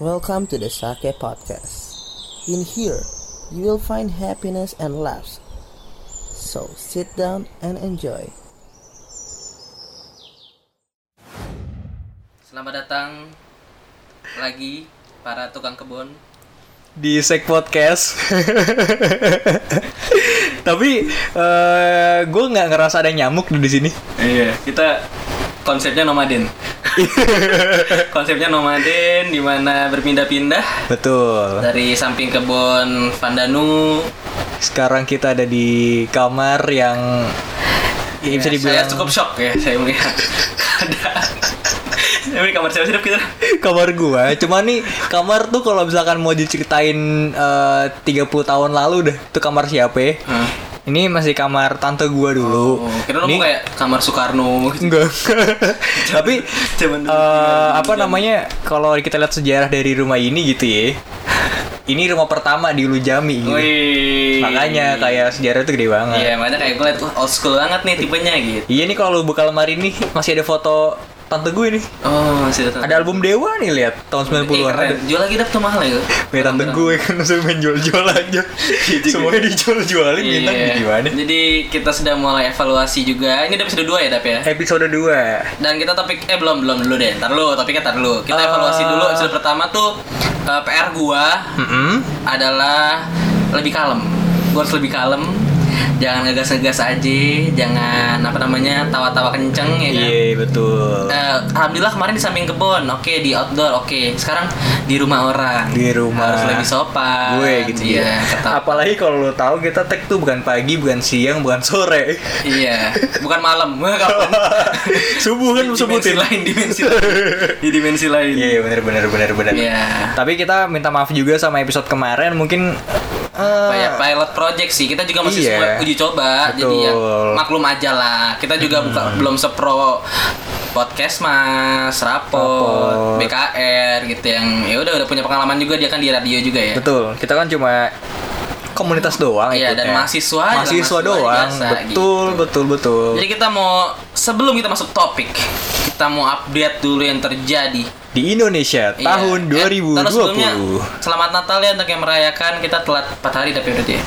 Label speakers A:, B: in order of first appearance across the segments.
A: Welcome to the Sake Podcast. In here, you will find happiness and laughs. So sit down and enjoy.
B: Selamat datang lagi para tukang kebun.
C: di Sek Podcast. Tapi gue nggak ngerasa ada nyamuk di sini.
B: Iya, kita konsepnya nomaden. konsepnya nomaden di mana berpindah-pindah
C: Betul.
B: dari samping kebun Pandanu.
C: Sekarang kita ada di kamar yang ya, bisa
B: Ya,
C: dibilang
B: saya cukup shock ya, saya melihat ada Ini kamar siapa sih Dap, kita?
C: kamar gua. Cuma nih kamar tuh kalau misalkan mau diceritain eh, 30 tahun lalu dah, tuh kamar siapa? ya?
B: Hmm.
C: Ini masih kamar tante gua dulu.
B: Oh, kira lu
C: Ini-
B: mau kayak kamar Soekarno gitu.
C: Enggak. Tapi
B: Zaman dulu,
C: eh, apa
B: zaman-
C: namanya kalau kita lihat sejarah dari rumah ini gitu ya. Ini rumah pertama di Ulujami gitu.
B: Wih.
C: Makanya kayak sejarah itu gede banget.
B: Iya, makanya kayak gue liat, wah old school banget nih tipenya gitu.
C: Iya nih kalau lu buka lemari nih masih ada foto tante gue nih.
B: Oh, masih datang.
C: Ada album Dewa nih lihat tahun 90-an
B: keren.
C: ada.
B: Jual lagi dap tuh mahal ya.
C: Punya tante gue kan langsung main jual-jual aja. Semuanya dijual-jualin bintang
B: Iya.
C: gimana?
B: Jadi kita sudah mulai evaluasi juga. Ini udah episode 2 ya, Dap ya.
C: Episode 2
B: Dan kita topik eh belum belum dulu deh. Ntar dulu, topiknya ntar dulu. Kita
C: Eh. Hmm.
B: evaluasi dulu episode pertama tuh eh, PR gua adalah lebih kalem. Gua harus lebih kalem. Jangan ngegas-ngegas aja, jangan apa namanya tawa-tawa kenceng ya kan.
C: Iya betul.
B: Eh, alhamdulillah kemarin di samping kebun, oke di outdoor, oke. Sekarang di rumah orang.
C: Di rumah.
B: harus lebih sopan.
C: gue gitu
B: Iya,
C: ya.
B: tetap.
C: Apalagi kalau lo tahu kita tag tuh bukan pagi, bukan siang, bukan sore.
B: Iya, bukan malam. Wah, kapan?
C: Subuh kan
B: Di
C: lo
B: dimensi
C: sebutin.
B: lain, dimensi lain. Di dimensi lain.
C: Iya, iya, bener bener bener bener.
B: Iya.
C: Tapi kita minta maaf juga sama episode kemarin mungkin eh,
B: Kayak pilot project sih. Kita juga masih
C: Iya.
B: semua uji coba. Jadi ya
C: Betul. Hmm.
B: maklum aja lah. Kita juga buka, belum sepro podcast mas, rapot,
C: Rapot.
B: BKR gitu yang ya udah udah punya pengalaman juga dia kan di radio juga ya.
C: betul. Kita kan cuma komunitas doang
B: Iya, dan
C: ikutnya.
B: mahasiswa juga, mahasiswa
C: mahasiswa doang.
B: biasa, gitu.
C: betul, betul, betul,
B: Jadi kita mau sebelum kita masuk topik, kita mau update dulu yang terjadi
C: Di Indonesia
B: Iya.
C: tahun
B: Eh, terus sebelumnya,
C: 2020.
B: selamat Natal ya untuk yang merayakan. Kita telat 4 hari tapi berarti ya.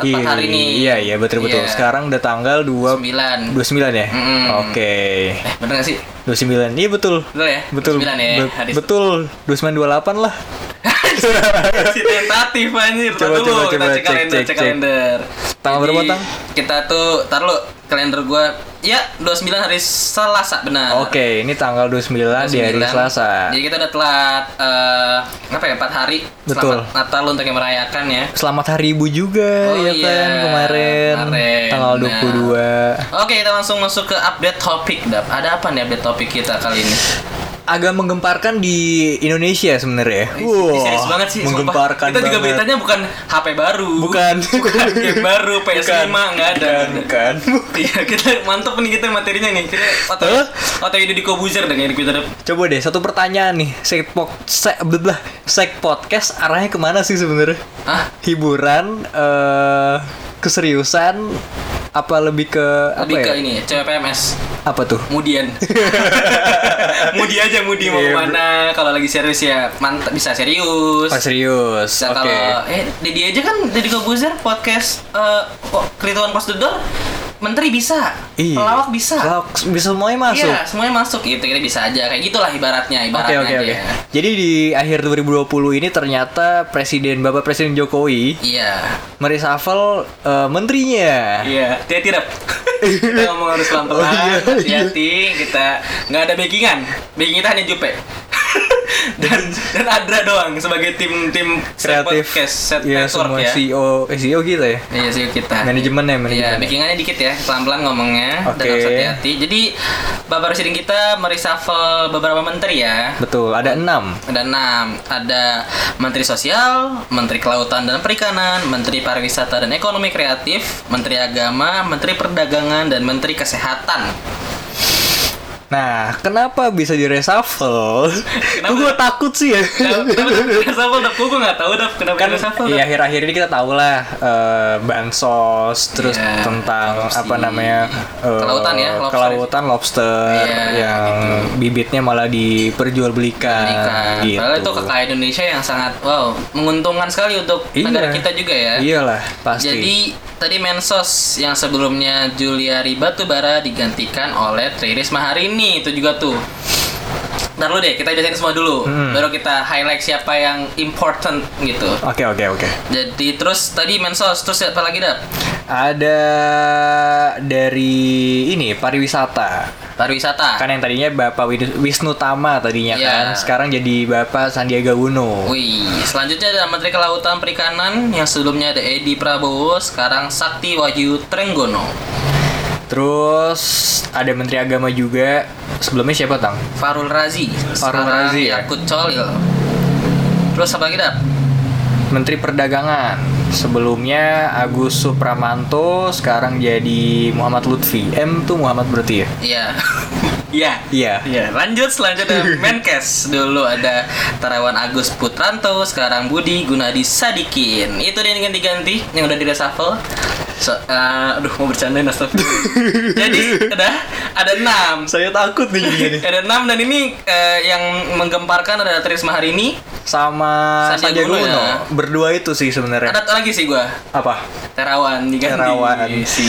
B: Telat 4 hari nih.
C: Iya, iya, betul betul.
B: Iya.
C: Sekarang udah tanggal 2
B: 9.
C: 29 ya?
B: Mm-mm.
C: Oke.
B: Eh, bener gak sih?
C: 29. Iya betul.
B: Betul ya?
C: Betul.
B: 9 ya.
C: Be-
B: hari
C: betul. 2928 lah.
B: si tentatif anjir. Tar
C: Coba,
B: dulu, kita
C: coba, coba,
B: cek
C: cek,
B: kalender, cek,
C: cek, cek.
B: kalender.
C: Tanggal
B: Jadi,
C: berapa, Tang?
B: Kita tuh tar lu kalender gua ya 29 hari Selasa benar.
C: Oke, ini tanggal 29, di hari
B: 9.
C: Selasa.
B: Jadi kita udah telat eh apa ya 4 hari
C: Betul.
B: Selamat Natal untuk yang merayakan ya.
C: Selamat Hari Ibu juga
B: Oh
C: ya
B: iya,
C: kan kemarin,
B: kemarin.
C: tanggal
B: Nah.
C: 22.
B: Oke, kita langsung masuk ke update topik, Dap. Ada apa nih update topik kita kali ini?
C: Agak menggemparkan di Indonesia sebenarnya.
B: Ini serius banget sih, sumpah.
C: menggemparkan
B: Kita juga
C: banget.
B: beritanya bukan HP baru.
C: Bukan.
B: Bukan game baru, PS5, nggak ada.
C: Bukan, bukan.
B: Iya, kita mantep nih kita materinya nih. Kita atau
C: Hah?
B: atau ide di Kobuzer dengan di Twitter.
C: Coba deh satu pertanyaan nih, sek pok sek, blah, sek podcast arahnya kemana sih sebenarnya?
B: Hah?
C: Hiburan, eh keseriusan, apa lebih ke
B: Lebih
C: apa
B: ke
C: ya?
B: ini ya, CPMS.
C: Apa tuh?
B: Mudian. mudi aja mudi mau
C: Iya, bro.
B: kemana kalau lagi serius ya mantap bisa serius.
C: Oh, serius.
B: Nah,
C: Oke.
B: kalau eh Deddy aja kan Deddy Kobuzer podcast eh kok Krituan Pos Dudor menteri bisa,
C: Iya.
B: pelawak bisa.
C: Pelawak bisa semuanya masuk.
B: Iya, semuanya masuk gitu. Kita bisa aja kayak gitulah ibaratnya,
C: Oke
B: ibaratnya
C: oke
B: aja.
C: oke. Jadi di akhir 2020 ini ternyata presiden Bapak Presiden Jokowi
B: Iya.
C: meresafel eh, menterinya.
B: Iya, hati-hati Rep. kita ngomong harus pelan-pelan,
C: Oh, iya,
B: hati-hati, kita nggak ada backingan. Backing kita hanya Jupe. dan dan Adra doang sebagai tim tim set
C: Kreatif.
B: podcast, set
C: Iya,
B: network
C: semua
B: ya.
C: CEO eh, CEO gitu ya.
B: Iya sih kita.
C: Manajemennya, manajemennya.
B: Iya, backingannya dikit ya, pelan-pelan ngomongnya dan
C: Oke.
B: harus hati-hati. Jadi Bapak Presiden kita meresafel beberapa menteri ya.
C: Betul, ada enam.
B: Ada enam, ada Menteri Sosial, Menteri Kelautan dan Perikanan, Menteri Pariwisata dan Ekonomi Kreatif, Menteri Agama, Menteri Perdagangan dan Menteri Kesehatan.
C: Nah, kenapa bisa di reshuffle? Kok gue takut sih ya.
B: Nah, Reshuffle Dap, gue nggak tahu Dap kenapa
C: kan
B: reshuffle
C: ya
B: Dap.
C: akhir-akhir ini kita tahu lah eh, bansos terus
B: Iya,
C: tentang
B: korupsi.
C: apa namanya eh,
B: Kelautan ya, lobster.
C: kelautan lobster
B: Iya,
C: yang bibitnya malah diperjualbelikan
B: Ikan.
C: gitu.
B: Padahal itu kekayaan Indonesia yang sangat wow menguntungkan sekali untuk
C: Iya.
B: negara kita juga ya.
C: Iyalah pasti.
B: Jadi tadi Mensos yang sebelumnya Julia Ribatubara digantikan oleh Tri Risma hari ini itu juga tuh. Ntar dulu deh, kita jelasin semua dulu.
C: Hmm.
B: Baru kita highlight siapa yang important gitu.
C: Oke oke oke.
B: Jadi terus tadi Mensos, terus apa lagi dap?
C: Ada dari ini pariwisata.
B: Pariwisata.
C: Kan yang tadinya Bapak Wid- Wisnu Tama tadinya
B: Ah. Iya.
C: kan, sekarang jadi Bapak Sandiaga Uno.
B: Wih, selanjutnya ada Menteri Kelautan Perikanan yang sebelumnya ada Edi Prabowo, sekarang Sakti Wahyu Trenggono.
C: Terus ada Menteri Agama juga. Sebelumnya siapa tang?
B: Farul Razi,
C: Farul
B: sekarang
C: Razi, ya?
B: Yakut Colil. Terus apa lagi dap?
C: Menteri Perdagangan. Sebelumnya Agus Supramanto, sekarang jadi Muhammad Lutfi. M tuh Muhammad berarti ya?
B: Iya. Iya.
C: Iya.
B: Iya, lanjut selanjutnya ada Menkes. Dulu ada Terawan Agus Putranto, sekarang Budi Gunadi Sadikin. Itu dia yang ganti-ganti yang udah di reshuffle. So, eh, aduh mau bercandain astagfirullah. Jadi, ada ada 6.
C: Saya takut nih jadinya nih.
B: Ada 6 dan ini eh, yang menggemparkan ada Trisma hari ini.
C: Sama
B: Sandiaga
C: Sandiaga
B: Uno
C: Uno.
B: ya?
C: Berdua itu sih sebenarnya.
B: Ada lagi sih gua.
C: Apa?
B: Terawan diganti
C: Iya. Terawan.
B: si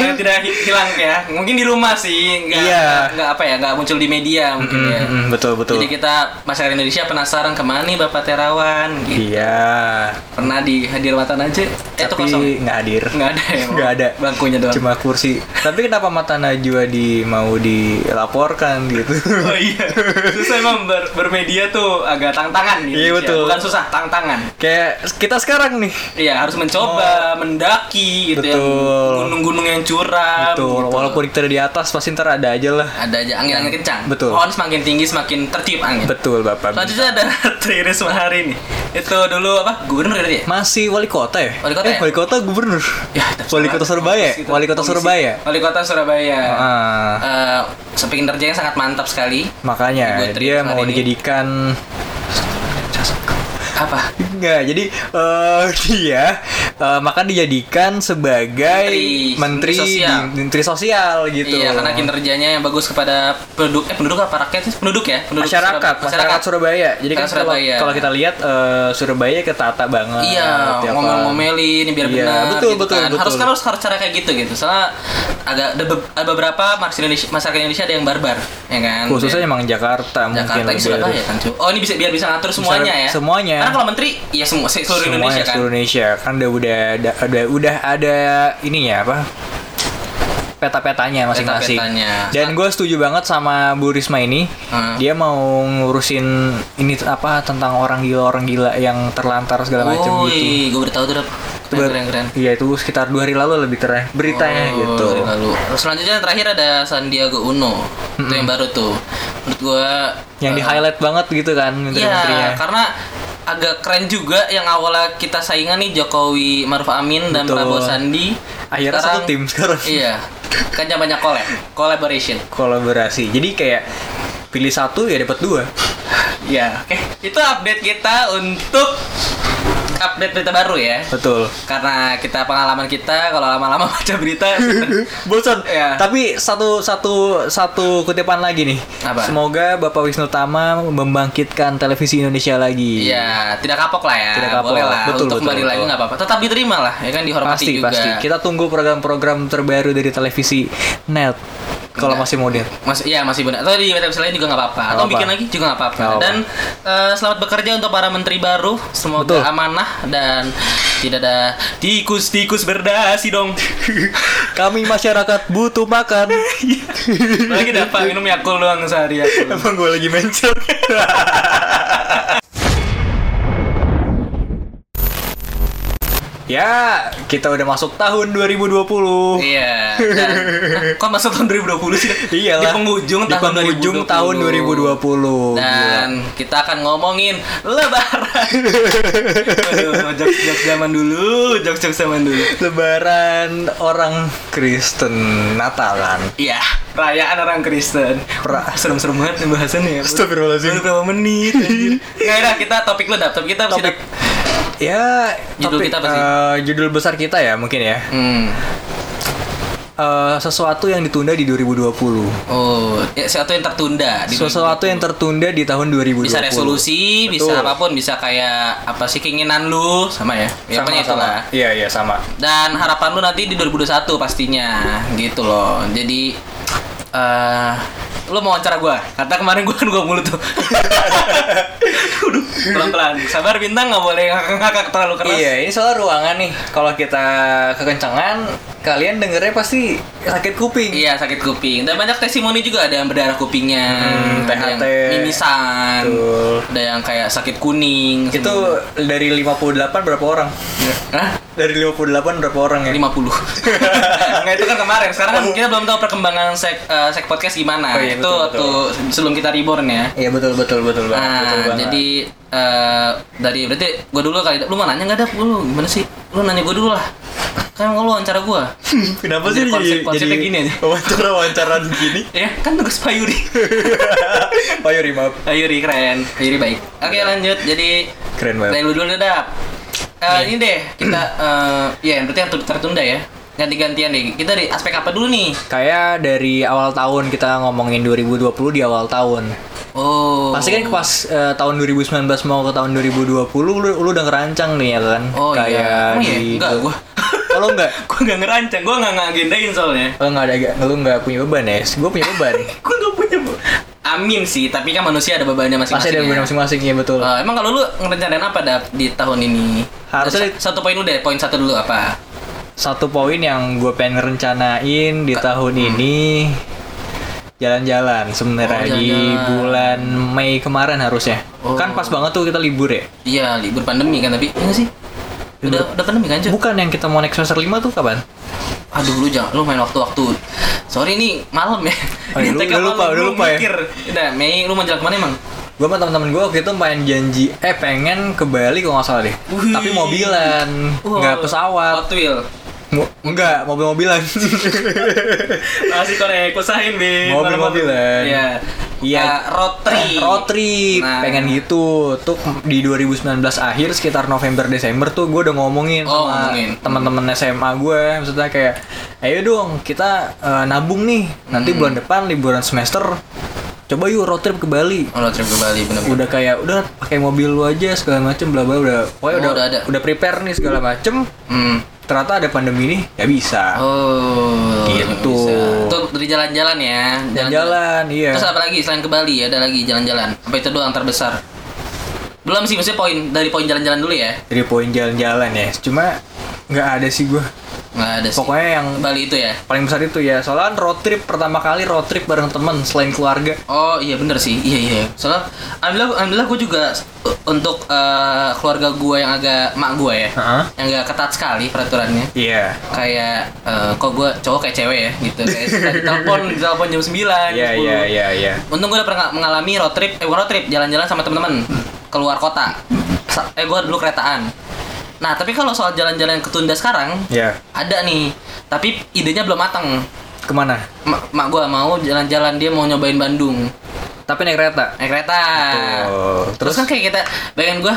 B: yang tidak hi- hilang ya mungkin di rumah sih nggak
C: Iya.
B: nggak apa ya nggak muncul di media mungkin ya
C: Mm, betul betul.
B: jadi kita masyarakat Indonesia penasaran kemana nih Bapak Terawan gitu.
C: Iya.
B: pernah di Hadirwatan aja eh, itu kosong
C: tapi nggak hadir
B: nggak ada ya
C: nggak ada
B: bangkunya doang
C: cuma kursi tapi kenapa mata Najwa di mau dilaporkan gitu
B: oh iya susah emang ber- bermedia tuh agak tantangan gitu ya.
C: Iya, betul.
B: bukan susah tantangan
C: kayak kita sekarang nih
B: Iya harus mencoba mendaki gitu ya
C: Oh. Betul.
B: gunung-gunung yang curam
C: tuh
B: gitu.
C: walaupun kita di atas pasti ntar ada aja lah
B: ada aja angin angin kencang.
C: Betul.
B: Pohon semakin tinggi semakin tertiup angin.
C: betul bapak
B: Selanjutnya ada Tri Risma hari ini. Itu dulu apa? Gubernur tadi ya?
C: masih wali kota ya
B: Wali kota
C: eh,
B: ya?
C: wali kota gubernur
B: Ya,
C: wali kota Surabaya ya?
B: Komisi itu,
C: wali kota
B: komisi.
C: Surabaya
B: Wali kota Surabaya.
C: Ah,
B: Eh, sepi kinerjanya sangat mantap sekali.
C: makanya
B: Gua terima
C: dia mau
B: hari ini.
C: dijadikan
B: Apa?
C: Enggak, jadi eh dia eh, maka dijadikan sebagai
B: Menteri-
C: menteri
B: menteri sosial.
C: di- menteri sosial gitu.
B: Iya, karena kinerjanya yang bagus kepada penduduk eh penduduk apa rakyat? Penduduk ya, penduduk
C: masyarakat,
B: Surabaya-
C: masyarakat Surabaya. Jadi kan
B: Masyarakat
C: kalau-
B: Surabaya.
C: kalau kita lihat eh, Surabaya ketata banget.
B: Iya,
C: ya kan?
B: ngomel-ngomelin biar
C: Iya,
B: benar.
C: betul,
B: gitu
C: betul,
B: kan.
C: betul.
B: Harus kan harus, harus cara kayak gitu gitu. Soalnya agak ada, be- ada beberapa masyarakat Indonesia, masyarakat Indonesia ada yang barbar, ya kan?
C: Khususnya
B: Dia-
C: emang Jakarta, mungkin
B: Jakarta ini
C: lebih
B: Surabaya kan, cuy. Oh, ini bisa biar bisa ngatur semuanya ya.
C: semuanya.
B: Karena kalau menteri ya semua se- seluruh
C: Semuanya,
B: Indonesia kan.
C: seluruh Indonesia kan udah udah ada udah, udah ada ininya apa? peta-petanya masing-masing.
B: Peta-petanya.
C: Dan gue setuju banget sama Bu Risma ini.
B: Hmm.
C: Dia mau ngurusin ini t- apa tentang orang gila orang gila yang terlantar segala
B: Oh,
C: macam gitu.
B: Woi, gue beritahu tuh, Dap.
C: Ber-
B: keren keren.
C: Iya itu sekitar dua hari lalu lebih terakhir beritanya
B: Oh,
C: gitu.
B: dari Lalu selanjutnya yang terakhir ada Sandiaga Uno. Itu yang baru tuh. Menurut gua
C: Yang di
B: eh,
C: highlight banget gitu kan menteri-menterinya.
B: Iya, karena agak keren juga yang awalnya kita saingan nih Jokowi Maruf Amin dan
C: Betul.
B: Prabowo Sandi.
C: Akhirnya satu tim sekarang.
B: Iya. Kan banyak collab, collaboration.
C: Kolaborasi. Jadi kayak pilih satu ya dapat dua.
B: Iya, oke. Itu update kita untuk update berita baru ya.
C: Betul.
B: Karena kita pengalaman kita kalau lama-lama baca berita
C: bosan
B: Iya.
C: tapi satu satu satu kutipan lagi nih
B: Apa?
C: semoga bapak Wisnu Tama membangkitkan televisi Indonesia lagi
B: Iya, tidak kapok lah ya.
C: Tidak kapok.
B: Boleh lah.
C: Betul,
B: untuk
C: betul,
B: kembali lagi
C: betul.
B: nggak apa-apa. Tetap diterima lah, ya kan dihormati
C: pasti
B: juga.
C: pasti kita tunggu program-program terbaru dari televisi net kalau
B: Iya.
C: masih modern
B: Mas, iya masih benar. Atau di website lain juga nggak apa-apa. Atau
C: apa.
B: bikin lagi juga nggak apa-apa.
C: Nggak apa.
B: Dan eh, selamat bekerja untuk para menteri baru. Semoga
C: Betul.
B: amanah dan tidak ada tikus-tikus berdasi dong.
C: kami masyarakat butuh makan
B: lagi dapat minum Yakult doang sehari Yakult.
C: emang gue lagi mencur Ya, kita udah masuk tahun 2020.
B: Iya. Dan, nah, kok masuk tahun 2020 sih? Iya, Di
C: Iyalah.
B: penghujung
C: Di
B: tahun
C: penghujung
B: 2020.
C: tahun 2020.
B: Dan kita akan ngomongin lebaran. Waduh, jokes-jokes zaman dulu, jokes-jokes zaman dulu.
C: Lebaran orang Kristen kan? Natalan.
B: Iya, rayaan orang Kristen.
C: Pra-
B: Serem-serem banget nih bahasannya ya.
C: Astagfirullahaladzim.
B: Baru berapa menit anjir. Nggak, udah, kita topik lu dap. Topik kita apa sih, Dap?
C: Ya,
B: Judul kita apa sih?
C: eh, judul besar kita ya mungkin ya.
B: Hmm.
C: Eh, sesuatu yang ditunda di 2020.
B: Oh, ya, sesuatu yang tertunda. di-
C: Sesuatu yang tertunda di tahun 2020.
B: bisa resolusi, bisa
C: Betul.
B: apapun, bisa kayak apa sih keinginan lu sama ya. Ya
C: Sama,
B: pokoknya
C: sama.
B: itulah.
C: Iya, iya sama.
B: dan harapan lu nanti di 2021 pastinya gitu loh jadi eh lu mau wawancara gua kata kemarin gua kan gua mulu tuh Aduh, pelan-pelan sabar bintang nggak boleh ngakak terlalu keras
C: Iya, ini soal ruangan nih. Kalau kita kekencangan, kalian dengernya pasti sakit kuping.
B: Iya, sakit kuping dan banyak testimoni juga ada yang berdarah kupingnya
C: Hmm,
B: ada yang
C: THT.
B: mimisan
C: Betul.
B: ada yang kayak sakit kuning
C: Itu dari 58 berapa orang?
B: Hah?
C: Dari 58 berapa orang ya?
B: 50 Nggak itu kan kemarin Sekarang kan kita belum tahu perkembangan sek, eh, sek podcast gimana
C: Oh
B: Itu
C: iya, betul, betul.
B: waktu sebelum kita reborn ya
C: Iya betul betul betul banget. betul
B: Nah,
C: banget.
B: jadi eh, dari berarti gue dulu kali lu mau nanya nggak ada lu gimana sih lu nanya gue dulu lah kan lu wawancara gue
C: kenapa
B: jadi konsep- konsepnya gini aja.
C: wawancara wawancaran gini?
B: ya kan tugas Pak Yuri
C: Pak Oh, Yuri maaf.
B: Pak Yuri keren Pak Yuri baik oke lanjut jadi
C: Keren banget.
B: dari lu dulu deh Dap. Eh, ini deh kita eh, ya berarti yang tertunda ya ganti-gantian deh kita dari aspek apa dulu nih
C: Kayak dari awal tahun kita ngomongin 2020 di awal tahun.
B: oh
C: Pasti kan pas eh, tahun 2019 mau ke tahun 2020 lu, lu udah ngerancang nih ya kan?
B: oh
C: Kayak
B: iya Emang
C: di
B: ya? enggak gue
C: Kalau enggak,
B: gue nggak ngerancang gue nggak ngagendain soalnya
C: Lo nggak ada, lu nggak punya beban ya? Gue punya beban.
B: gue nggak punya bu- Amin sih, tapi kan manusia ada bebannya
C: Pasti
B: masing-masing.
C: ada
B: ya.
C: beban masing-masing ya betul.
B: Eh, emang kalau lu ngerencanain apa Dap, di tahun ini?
C: Harusnya
B: Sa- satu poin lu deh, poin satu dulu apa?
C: Satu poin yang gue pengen rencanain di tahun
B: Hmm.
C: ini jalan-jalan sebenarnya
B: Oh,
C: di
B: jalan-jalan.
C: bulan Mei kemarin harusnya.
B: Oh.
C: Kan pas banget tuh kita libur ya.
B: Iya, libur pandemi kan tapi enggak sih? Udah, udah pandemi kan, Cuk?
C: Bukan yang kita mau naik semester 5 tuh kapan?
B: Aduh, lu jangan lu main waktu-waktu. Sorry ini malam ya.
C: Oh, iya, lu-
B: Take
C: udah
B: malam,
C: lupa, udah
B: lu
C: lupa ya.
B: mikir. Udah, Mei lu mau jalan kemana emang?
C: Gue sama teman-teman gue waktu itu main janji eh pengen ke Bali kalau nggak salah deh.
B: Wih.
C: Tapi mobilan,
B: Wow.
C: nggak pesawat.
B: Hot Wheel.
C: Mo- nggak mobil-mobilan.
B: Masih korek, kusahin, Bin.
C: Mobil-mobilan.
B: Iya.
C: ya. Iya.
B: Eh, road trip.
C: road trip
B: Nah.
C: pengen gitu tuh di 2019 akhir sekitar November Desember tuh gue udah ngomongin
B: Oh,
C: sama
B: ngomongin.
C: teman-teman SMA gue maksudnya kayak ayo dong kita eh, nabung nih nanti
B: Hmm.
C: bulan depan liburan semester coba yuk road trip ke Bali
B: Oh, road trip ke Bali bener
C: udah kayak udah pakai mobil lu aja segala macem bla bla udah pokoknya
B: Oh,
C: udah
B: udah ada.
C: udah prepare nih segala macem
B: Hmm.
C: ternyata ada pandemi nih ya bisa
B: Oh,
C: Gitu.
B: bisa. Itu dari jalan-jalan ya.
C: jalan-jalan iya
B: Terus apa lagi selain ke Bali ada lagi jalan-jalan. Apa itu doang terbesar? Belum sih, maksudnya poin dari poin jalan-jalan dulu ya.
C: dari poin jalan-jalan ya cuma nggak ada sih gue
B: Nggak ada sih.
C: pokoknya yang
B: Bali itu ya.
C: paling besar itu ya soalnya road trip pertama kali road trip bareng temen selain keluarga
B: Oh iya bener sih, iya iya. Soalnya, alhamdulillah, alhamdulillah gue juga uh, untuk uh, keluarga gue yang agak mak gue ya,
C: Heeh.
B: yang agak ketat sekali peraturannya.
C: iya
B: Kayak eh, kok gue cowok kayak cewek ya gitu. Kayak suka ditelepon, ditelepon jam 9,
C: iya
B: 10.
C: iya iya iya
B: Untung gue udah pernah mengalami road trip, eh bukan road trip, jalan-jalan sama teman-teman keluar kota. Sa- Eh gue dulu keretaan. Nah tapi kalau soal jalan-jalan yang ketunda sekarang,
C: Iya.
B: ada nih. Tapi idenya belum matang.
C: kemana
B: Ma- mak gue mau jalan-jalan dia mau nyobain Bandung
C: tapi naik kereta
B: naik kereta.
C: Betul.
B: Terus, kan kayak kita, bayangin gue,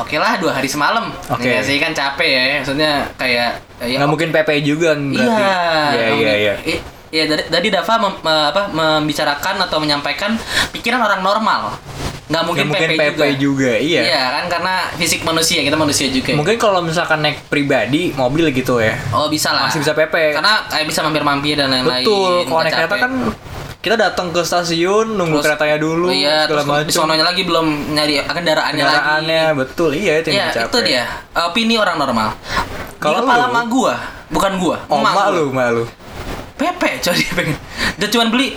B: oke lah dua hari semalam.
C: Oke.
B: Iya sih kan capek ya, maksudnya kayak eh, ya
C: nggak mungkin PP juga kan
B: Iya.
C: berarti iya iya iya
B: I- Iya, tadi- tadi Dava mem- me- apa, membicarakan atau menyampaikan pikiran orang normal. Nggak mungkin,
C: Nggak iya.
B: PP,
C: mungkin PP
B: juga.
C: juga, iya.
B: kan karena fisik manusia, kita manusia juga.
C: mungkin kalau misalkan naik pribadi mobil gitu ya
B: Oh bisa lah.
C: Masih bisa PP.
B: Karena kayak bisa mampir-mampir dan lain-lain.
C: betul kalau
B: nggak
C: naik kereta
B: capek.
C: kan kita datang ke stasiun nunggu
B: Terus-
C: keretanya dulu
B: iya,
C: segala
B: terus di
C: macam
B: sononya lagi belum nyari eh, kendaraannya, lagi.
C: kendaraannya betul iya itu
B: Iya,
C: yang capek
B: itu dia. Opini orang normal.
C: Kalau
B: Kalau kepala
C: lu?
B: emak gua, bukan gua.
C: oh
B: emak
C: mak
B: gua.
C: lu mak lu
B: Pepe coy dia pengen. Dia cuma beli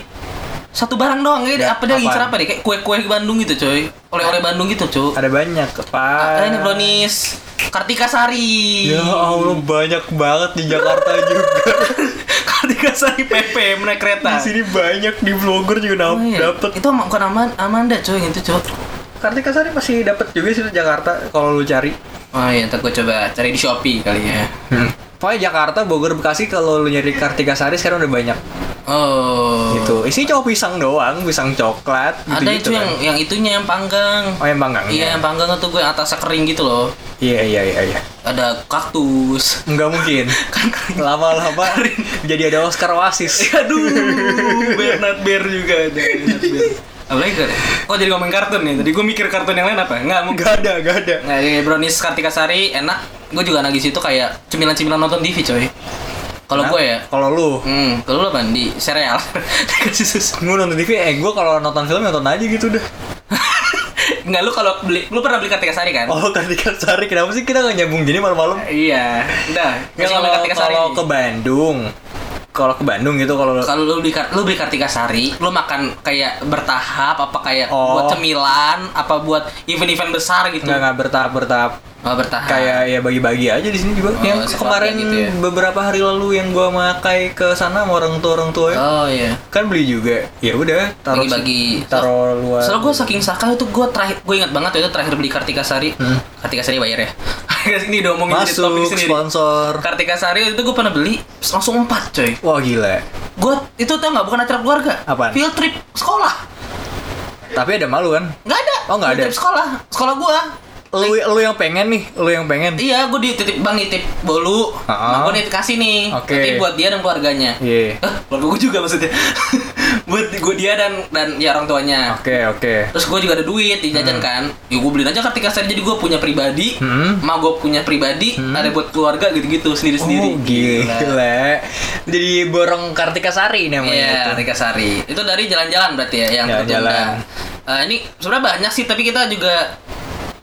B: satu barang doang kayak
C: Ya,
B: apa dia ngincer
C: apaan?
B: apa deh kayak kue-kue Bandung gitu coy. Oleh-oleh Bandung gitu, coy.
C: ada banyak
B: Ah,
C: pak
B: ini brownies. Kartika Sari.
C: Ya Allah banyak banget di Jakarta juga.
B: Kartika Sari PP naik kereta.
C: Di sini banyak di vlogger juga
B: Oh,
C: dap-
B: iya.
C: dapet.
B: Itu ama- bukan Amanda, Amanda coy yang itu coy.
C: Kartika Sari pasti dapet juga sih di Jakarta kalau lu cari.
B: Oh iya, ntar gue coba cari di Shopee kali ya.
C: Hmm. Pokoknya Jakarta, Bogor, Bekasi kalau lu nyari Kartika Sari sekarang udah banyak.
B: Oh.
C: Gitu. Isinya cuma pisang doang, pisang coklat gitu.
B: Ada itu yang yang itunya yang panggang.
C: Oh yang panggang.
B: Iya, yang panggang itu gue yang atasnya kering gitu loh.
C: Iya iya iya iya.
B: Ada kaktus.
C: Enggak mungkin. Lama-lama jadi ada Oscar Wasis.
B: Aduh, Bernard Bear juga ada. Bernard Bear. Apalagi gak ada? Oh jadi ngomongin kartun nih. Tadi gue mikir kartun yang lain apa? Enggak, mungkin.
C: Enggak ada, enggak ada.
B: Nah, ini brownies Kartika Sari enak. Gue juga nagih situ kayak cemilan-cemilan nonton TV, coy. Kalau gue ya,
C: Kalau lu
B: hmm, kalau lo apa? Di sereal. Dikasih susu.
C: Gue nonton TV, eh gue kalau nonton film nonton aja gitu dah
B: Enggak, lu kalau beli, lu pernah beli Kartika Sari kan?
C: Oh Kartika Sari, kenapa sih kita gak nyambung gini malam-malam?
B: Iya, udah.
C: Ya,
B: Nggak
C: kalau
B: sama Kartika Sari.
C: kalau ke Bandung kalau ke Bandung gitu kalau
B: Kalau lu beli, kar- lu beli Kartika Sari, lu makan kayak bertahap apa kayak
C: Oh.
B: buat cemilan, apa buat event-event besar gitu.
C: nggak nggak bertahap bertahap
B: Oh, bertahap.
C: kayak ya bagi-bagi aja di sini juga
B: Oh,
C: yang
B: sekeluarga
C: kemarin
B: gitu ya.
C: beberapa hari lalu yang gua makai ke sana sama orang tua orang tua ya,
B: Oh iya.
C: kan beli juga ya udah taruh
B: Bagi-bagi.
C: taruh luar
B: Soalnya gue saking sakal itu gue terakhir gue ingat banget itu terakhir beli Kartika Sari. Kartika Sari bayar ya. ini udah omongin jadi
C: Hmm. masuk
B: topik sendiri.
C: sponsor
B: Kartika Sari itu gue pernah beli langsung empat coy.
C: wah gila
B: Gue itu tau nggak bukan acara keluarga.
C: Apaan?
B: Field trip sekolah.
C: tapi ada malu kan
B: Nggak ada.
C: Oh, nggak
B: Field
C: ada.
B: Trip sekolah. Sekolah gue.
C: lu lu yang pengen nih lu yang pengen
B: Iya, gue dititip bang nitip bolu,
C: Ah.
B: bang gue nitip kasih nih,
C: Oke.
B: Nanti buat dia dan keluarganya.
C: Iya.
B: Eh, keluarga gue juga maksudnya. buat gue dia dan dan ya orang tuanya.
C: oke oke
B: Terus gue juga ada duit di jajan kan. Ya gue beliin aja ketika saya jadi gue punya pribadi,
C: Hmm.
B: emak gue punya pribadi, ada buat keluarga gitu-gitu sendiri-sendiri.
C: Oh, gila. Jadi borong Kartika Sari
B: Iya,
C: namanya itu.
B: Rika Sari. Itu dari jalan-jalan berarti ya yang
C: Jalan-jalan.
B: tertunda. Eh, ini sebenarnya banyak sih, tapi kita juga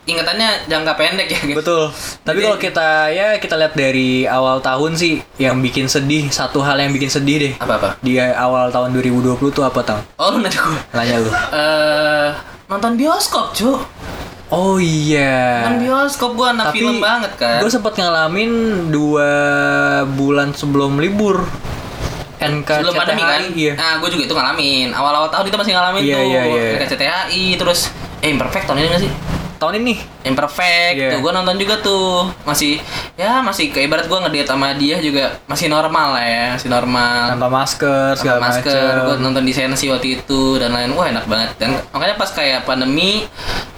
B: ingatannya jangka pendek ya. gitu.
C: Betul. Tapi
B: Jadi-
C: kalau kita ya kita lihat dari awal tahun sih yang bikin sedih, satu hal yang bikin sedih deh.
B: Apa-apa?
C: Di awal tahun 2020 tuh apa tang?
B: Oh, lu nanya gue.
C: Nanya lu.
B: eh nonton bioskop cu
C: Oh iya.
B: nonton bioskop gua Kan anak film banget kan
C: Gue sempat ngalamin dua bulan sebelum libur. NK
B: sebelum pandemi kan
C: Iya.
B: nah gue juga itu ngalamin awal-awal tahun itu masih ngalamin
C: Iya,
B: tuh
C: iya, iya.
B: RKCTHI terus eh imperfect tahun ini nggak sih
C: Tahun ini.
B: imperfect
C: Iya.
B: tuh gue nonton juga tuh masih ya masih kayak ibarat gue ngedate sama dia juga masih normal lah ya masih normal
C: Tanpa masker
B: Pakai
C: segala
B: masker
C: macem.
B: gue nonton di sensi waktu itu dan lain wah enak banget dan makanya pas kayak pandemi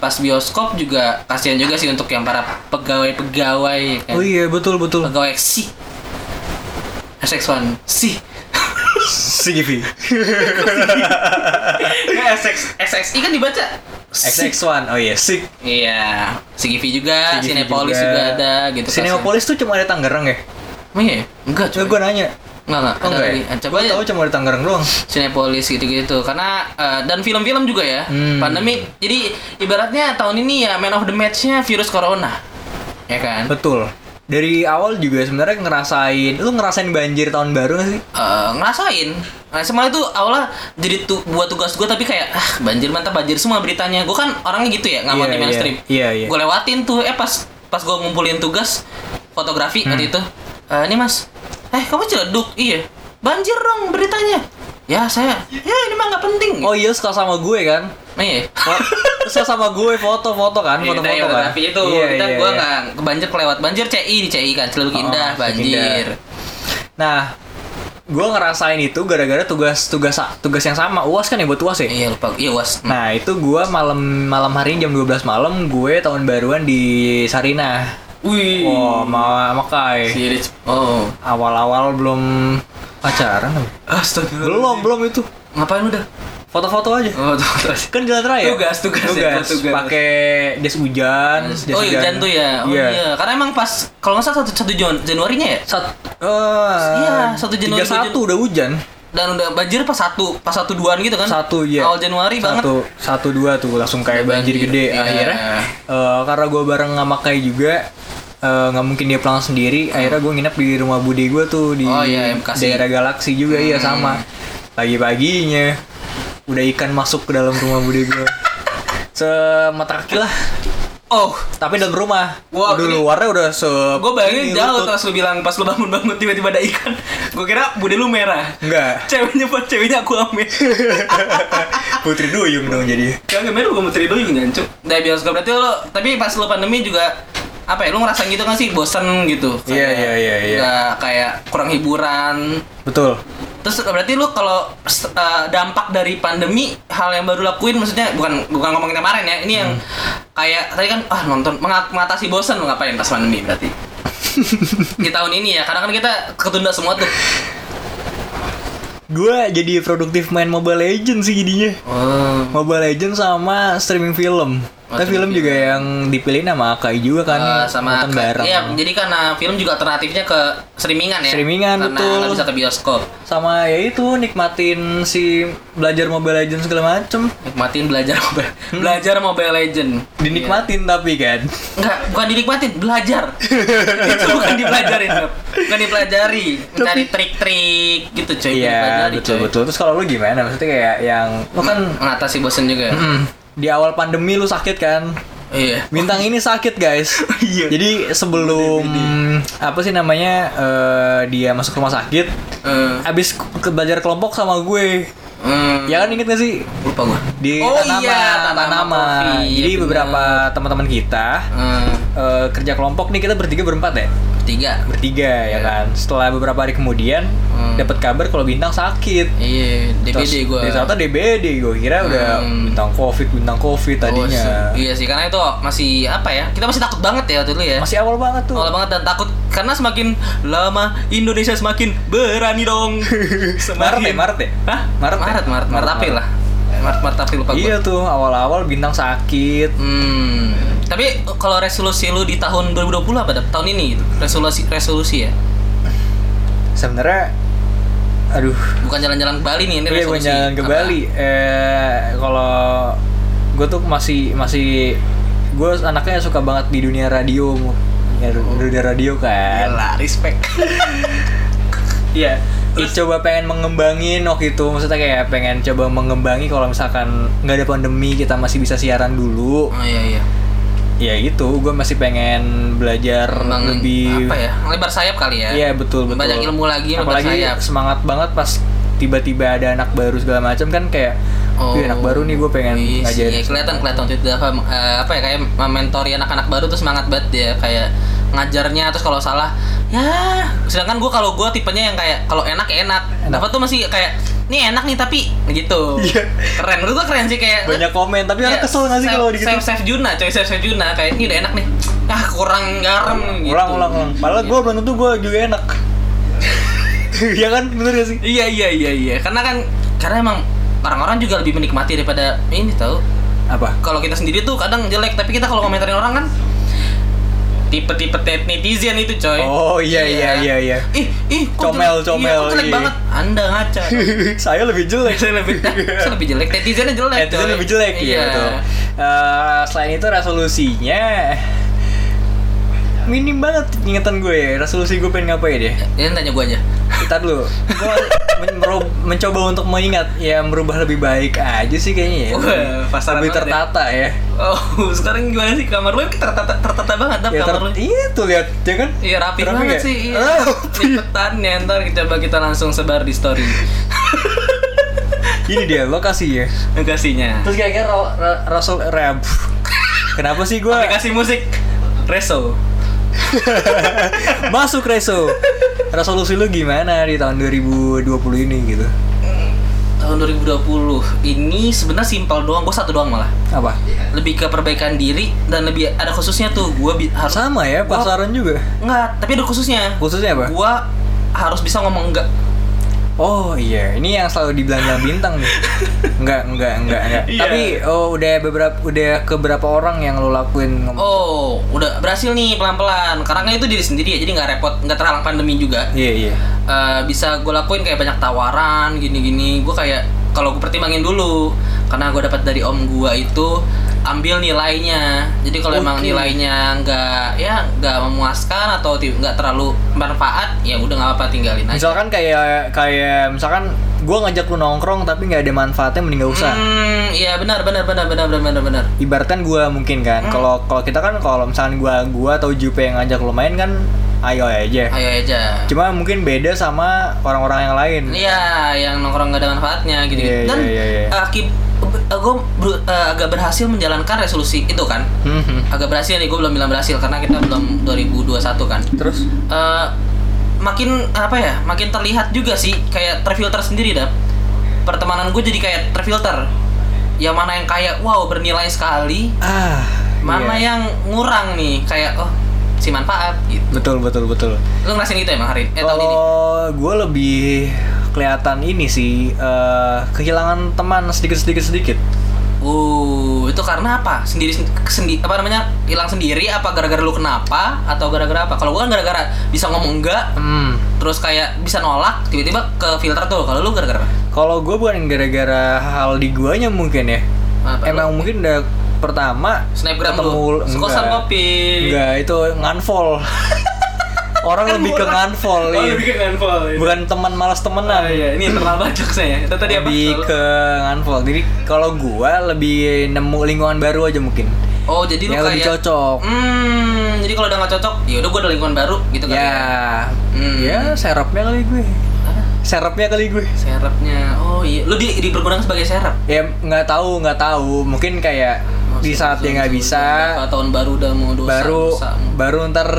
B: pas bioskop juga kasihan juga sih untuk yang para pegawai-pegawai kan.
C: Oh iya betul betul.
B: pegawai si hashtag one si
C: CGV.
B: SX, SXI kan dibaca Si.
C: XX1. Oh iya, sick.
B: iya Sigivi juga
C: CGV
B: Cinepolis juga. ada gitu
C: Cinepolis tuh cuma ada Tangerang ya?
B: kasihan. emang iya ya? enggak
C: Coba
B: coba
C: gue nanya.
B: enggak enggak
C: Oh,
B: ada
C: enggak
B: lagi
C: ya?
B: coba
C: Gue
B: aja
C: tahu cuma ada Tangerang doang.
B: Cinepolis gitu-gitu karena eh, dan film-film juga ya
C: Hmm.
B: pandemi jadi ibaratnya tahun ini ya man of the match-nya virus corona ya kan
C: Betul. Dari awal juga sebenarnya ngerasain, lu ngerasain banjir tahun baru gak sih?
B: Eh, ngerasain nah, semua itu awalnya jadi tu buat tugas gue tapi kayak ah banjir mantap banjir semua beritanya gue kan orangnya gitu ya nggak mau
C: Iya,
B: di
C: iya.
B: mainstream
C: Iya, iya.
B: gue lewatin tuh eh pas pas gue ngumpulin tugas fotografi
C: Hmm.
B: waktu itu "Eh, ini mas eh kamu celeduk iya banjir dong beritanya ya saya ya ini mah nggak penting
C: Oh iya, suka sama gue kan?
B: Nah, iya.
C: Fo- suka sama gue foto-foto kan,
B: Iya,
C: foto-foto
B: nah, iya,
C: kan.
B: Tapi itu kita gua nggak ke banjir kelewat banjir CI di CI kan Celuk
C: iya. Oh,
B: Indah
C: Celuk
B: banjir.
C: Indah. Nah, gue ngerasain itu gara-gara tugas-tugas tugas yang sama. UAS kan ya buat UAS ya?
B: Iya lupa. Iya was. Hmm.
C: Nah, itu gua malam malam hari jam 12 malam gue tahun baruan di Sarinah.
B: Wih.
C: Oh, ma makai.
B: Si Rich. Oh.
C: Awal-awal belum pacaran. apa?
B: Astagfirullah.
C: Belum, belum itu.
B: Ngapain udah?
C: Foto-foto aja.
B: Oh, tuh, tuh.
C: Kan jalan raya.
B: Tugas, tugas ya,
C: tugas.
B: tugas.
C: Pakai jas hujan,
B: Oh iya hujan tuh ya. Oh
C: Iya.
B: iya. Karena emang pas kalau nggak salah satu satu Jan Januarinya ya.
C: Sat eh,
B: Iya, satu Januari,
C: 31
B: dua
C: udah hujan.
B: Dan udah banjir pas satu pas satu duaan gitu kan.
C: Satu ya.
B: Awal Januari banget.
C: Satu, satu dua tuh langsung kayak
B: Udah
C: banjir,
B: banjir,
C: gede
B: iya.
C: akhirnya. eh, karena gue bareng sama Kai juga eh, nggak mungkin dia pulang sendiri akhirnya gue nginep di rumah bude gue tuh di
B: Oh, iya, yang Bekasi.
C: daerah galaksi juga iya
B: Hmm.
C: sama pagi paginya udah ikan masuk ke dalam rumah bude gue semata kaki lah
B: Oh,
C: Tapi dalam rumah.
B: Wah,
C: Waduh,
B: ini-
C: luarnya udah se
B: gue bayangin
C: ini,
B: jauh
C: lutut.
B: terus lu bilang pas lu bangun-bangun tiba-tiba ada ikan. Gue kira bude lu merah.
C: Enggak.
B: Ceweknya buat ceweknya aku ambil.
C: Putri duyung dong jadi.
B: Kagak merah gue menteri dulu jangan cuk. Dari bioskop berarti lu tapi pas lu pandemi juga apa ya lu ngerasa gitu gak sih bosen gitu?
C: Iya, iya, iya, iya.
B: Nggak kayak kurang hiburan.
C: Betul.
B: Terus eh, berarti lu kalau s- uh, dampak dari pandemi hal yang baru lakuin maksudnya bukan bukan ngomongin kemarin ya. Ini yang
C: Hmm.
B: kayak tadi kan ah nonton mengat- mengatasi bosan lu ngapain pas pandemi berarti. di tahun ini ya karena kan kita ketunda semua tuh.
C: Gua jadi produktif main Mobile Legends sih jadinya.
B: Oh.
C: Mobile Legends sama streaming film.
B: Oh,
C: Tapi
B: streaming
C: film
B: Ah,
C: juga yang dipilihin sama Akai juga kan.
B: sama
C: nonton
B: ke-
C: bareng.
B: iya, jadi karena film juga alternatifnya ke streamingan ya.
C: Streamingan,
B: karena
C: betul.
B: nggak bisa ke bioskop.
C: Sama ya itu nikmatin si belajar Mobile Legends segala macem.
B: Nikmatin belajar mobile,
C: Hmm.
B: belajar Mobile Legend. Iya.
C: Dinikmatin tapi kan.
B: Enggak, bukan dinikmatin, belajar. itu bukan dipelajarin, Beb. bukan dipelajari. Cari trik-trik gitu coy, bukan
C: Iya,
B: dipelajari, coy.
C: betul betul. Terus kalau lu gimana? Maksudnya kayak yang lu kan
B: mengatasi bosen juga. ya?
C: mm, di awal pandemi lu sakit kan?
B: Iya.
C: Bintang ini sakit guys.
B: Iya.
C: Jadi sebelum apa sih namanya eh, dia masuk rumah sakit,
B: Eh,
C: abis ke belajar kelompok sama gue.
B: hmm,
C: Ya kan inget gak sih?
B: lupa gua.
C: Di
B: oh
C: tanaman,
B: iya, tanaman.
C: tanaman.
B: kopi,
C: Jadi
B: iya,
C: beberapa teman-teman kita
B: bener. Eh,
C: eh, kerja kelompok nih kita bertiga berempat ya,
B: tiga.
C: bertiga ya kan. Setelah beberapa hari kemudian
B: Iya. Hmm.
C: dapat kabar kalau bintang sakit.
B: Iya,
C: Terus
B: DBD gua.
C: ternyata DBD gue kira udah
B: Hmm.
C: bintang covid bintang covid
B: Oh,
C: tadinya.
B: se- iya sih, karena itu masih apa ya? Kita masih takut banget ya waktu itu ya.
C: Masih awal banget tuh.
B: Awal banget dan takut karena semakin lama Indonesia semakin berani dong.
C: Maret ya, Maret ya?
B: Hah?
C: Maret ya?
B: Maret, Maret, Maret,
C: Maret,
B: April lah. Maret, Maret, April lupa
C: Iya
B: gua.
C: tuh awal-awal bintang sakit.
B: Hmm. Tapi kalau resolusi lu di tahun 2020 apa? Dap? Tahun ini gitu. Resolusi resolusi ya.
C: Sebenarnya, aduh.
B: Bukan jalan-jalan ke Bali nih ini
C: Iya gue
B: resolusi.
C: jalan ke
B: Apa?
C: Bali. Eh kalau gue tuh masih masih gue anaknya suka banget di dunia radio, mu. Ya, du-
B: Oh.
C: dunia radio kan.
B: Gila, respect.
C: Iya. Terus coba pengen mengembangin waktu itu maksudnya kayak pengen coba mengembangi kalau misalkan nggak ada pandemi kita masih bisa siaran dulu.
B: oh iya iya.
C: Ya gitu, gue masih pengen belajar
B: Kembangin
C: lebih
B: apa ya? Lebar sayap kali ya.
C: Iya betul betul.
B: Banyak ilmu lagi, lebar
C: Apalagi
B: sayap.
C: semangat banget pas tiba-tiba ada anak baru segala macam kan kayak,
B: Oh.
C: "Wih, anak baru nih gue
B: Iya
C: pengen
B: sih,
C: ngajarin.
B: Iya, kelihatan kelihatan waktu itu Dava, eh, apa ya kayak mentori anak-anak baru tuh semangat banget dia kayak ngajarnya terus kalau salah ya sedangkan gue kalau gue tipenya yang kayak kalau enak ya enak.
C: Enak.
B: Dapat tuh masih kayak ini enak nih tapi gitu.
C: Iya.
B: Keren. Menurut gue keren sih kayak
C: Banyak komen tapi
B: Iya,
C: orang kesel nggak sih
B: Chef-
C: kalau digitu?
B: Chef Chef Juna, coy Chef Chef Juna kayak ini udah enak nih. Ah, kurang garam gitu.
C: Ulang ulang ulang. Padahal gue belum tentu gue juga enak. Iya kan bener gak sih?
B: Iya iya iya iya. Karena kan karena emang orang-orang juga lebih menikmati daripada ini tahu.
C: Apa?
B: kalau kita sendiri tuh kadang jelek tapi kita kalau komentarin orang kan tipe-tipe tet- netizen itu coy kan?
C: Oh iya iya iya iya.
B: ih ih kok
C: Comel,
B: jelek,
C: comel,
B: iya, kok jelek
C: iya.
B: banget anda ngaca
C: Saya lebih jelek.
B: saya lebih saya lebih jelek netizennya jelek
C: Eh, itu
B: coy.
C: lebih jelek
B: iya
C: iya betul. Eh, selain itu resolusinya minim banget ingatan gue ya resolusi gue pengen ngapain ya
B: ini tanya gue aja
C: kita dulu gue men- meru- mencoba untuk mengingat ya merubah lebih baik aja sih kayaknya ya
B: Wah, pasaran
C: lebih
B: banget ya.
C: tertata ya
B: oh sekarang gimana sih kamar lu tertata tertata banget dap
C: ya ter
B: kamar lu
C: iya tuh lihat ya kan
B: Iya rapi
C: Rapi
B: banget
C: nggak? Oh,
B: sih. Iya.
C: Rapi.
B: Lipetannya ntar kita coba kita langsung sebar di story
C: ini dia lokasi ya
B: Aplikasinya.
C: terus kayaknya ra, ra- rasul rap kenapa sih gue
B: Aplikasi musik Reso.
C: masuk reso resolusi lu gimana di tahun 2020 ini gitu
B: tahun 2020 ini sebenarnya simpel doang gue satu doang malah
C: apa
B: lebih ke perbaikan diri dan lebih ada khususnya tuh gue harus
C: sama ya
B: Gua-
C: pasaran juga
B: nggak tapi ada khususnya
C: khususnya apa
B: gue harus bisa ngomong enggak
C: Oh iya, ini yang selalu dibilang bintang nih. Enggak, enggak, enggak, enggak.
B: Iya.
C: Tapi oh, udah beberapa udah ke berapa orang yang lo lakuin ngomong.
B: oh udah berhasil nih pelan pelan karena kan itu diri sendiri ya jadi nggak repot nggak terhalang pandemi juga
C: Iya, iya.
B: Eh, bisa gue lakuin kayak banyak tawaran gini-gini gue kayak kalau gue pertimbangin dulu karena gue dapat dari om gue itu ambil nilainya jadi kalau emang
C: Oke.
B: nilainya nggak ya nggak memuaskan atau ti- nggak terlalu bermanfaat ya udah nggak apa-apa tinggalin aja
C: Misalkan kayak kayak misalkan gue ngajak lu nongkrong tapi nggak ada manfaatnya mending gak usah
B: Hmm, iya benar benar benar benar benar benar benar.
C: ibaratkan gue mungkin kan kalau kalau kita kan kalau misalnya gue gua atau Jupe yang ngajak lo main kan ayo aja
B: Ayo aja.
C: cuma mungkin beda sama orang-orang yang lain
B: Iya, yang nongkrong gak ada manfaatnya gitu.
C: Iya,
B: Dan eh,
C: iya, iya, iya.
B: gue agak berhasil menjalankan resolusi itu kan.
C: Hmm, hmm.
B: Agak berhasil nih, gue belum bilang berhasil karena kita belum 2021 kan.
C: terus
B: Eh, makin apa ya? Makin terlihat juga sih kayak terfilter sendiri dah. Pertemanan gue jadi kayak terfilter. Yang mana yang kayak wow bernilai sekali,
C: ah
B: mana ya?
C: iya.
B: yang ngurang nih kayak oh si manfaat gitu.
C: betul betul betul
B: Lu ngerasain gitu emang hari eh, tahun ini?
C: Kalau gue lebih kelihatan ini sih eh, kehilangan teman sedikit sedikit sedikit.
B: Uh, itu karena apa? Sendiri sendi apa namanya? Hilang sendiri apa gara-gara lu kenapa atau gara-gara apa? Kalau gua kan gara-gara bisa ngomong enggak,
C: Hmm.
B: terus kayak bisa nolak, tiba-tiba ke filter tuh. Kalau lu gara-gara apa?
C: Kalau gue bukan gara-gara hal di guanya mungkin ya.
B: Apa lu?
C: Emang mungkin udah pertama
B: snapgram
C: ketemu
B: lu
C: enggak.
B: sekosan kopi.
C: Enggak, itu nganfol. Orang lebih ke nganfol, iya.
B: Oh, ke nganfol. Ah, iya.
C: bukan teman malas temenan.
B: ini internal bacok saya. Itu tadi apa?
C: lebih ke nganfol. Jadi kalau gua lebih nemu lingkungan baru aja mungkin.
B: Oh, jadi lu
C: yang lebih
B: kayak
C: cocok.
B: Hmm, jadi kalau udah nggak cocok, ya udah gua ada lingkungan baru gitu kan.
C: Ya,
B: Hmm.
C: ya serapnya kali gue.
B: Apa?
C: Serapnya kali gue.
B: Serapnya. Oh iya, lu di dipergunakan sebagai serap.
C: Ya nggak tahu, nggak tahu. Mungkin kayak di saat dia nggak bisa,
B: Berapa tahun baru udah mau dosa
C: baru
B: dosa.
C: baru ntar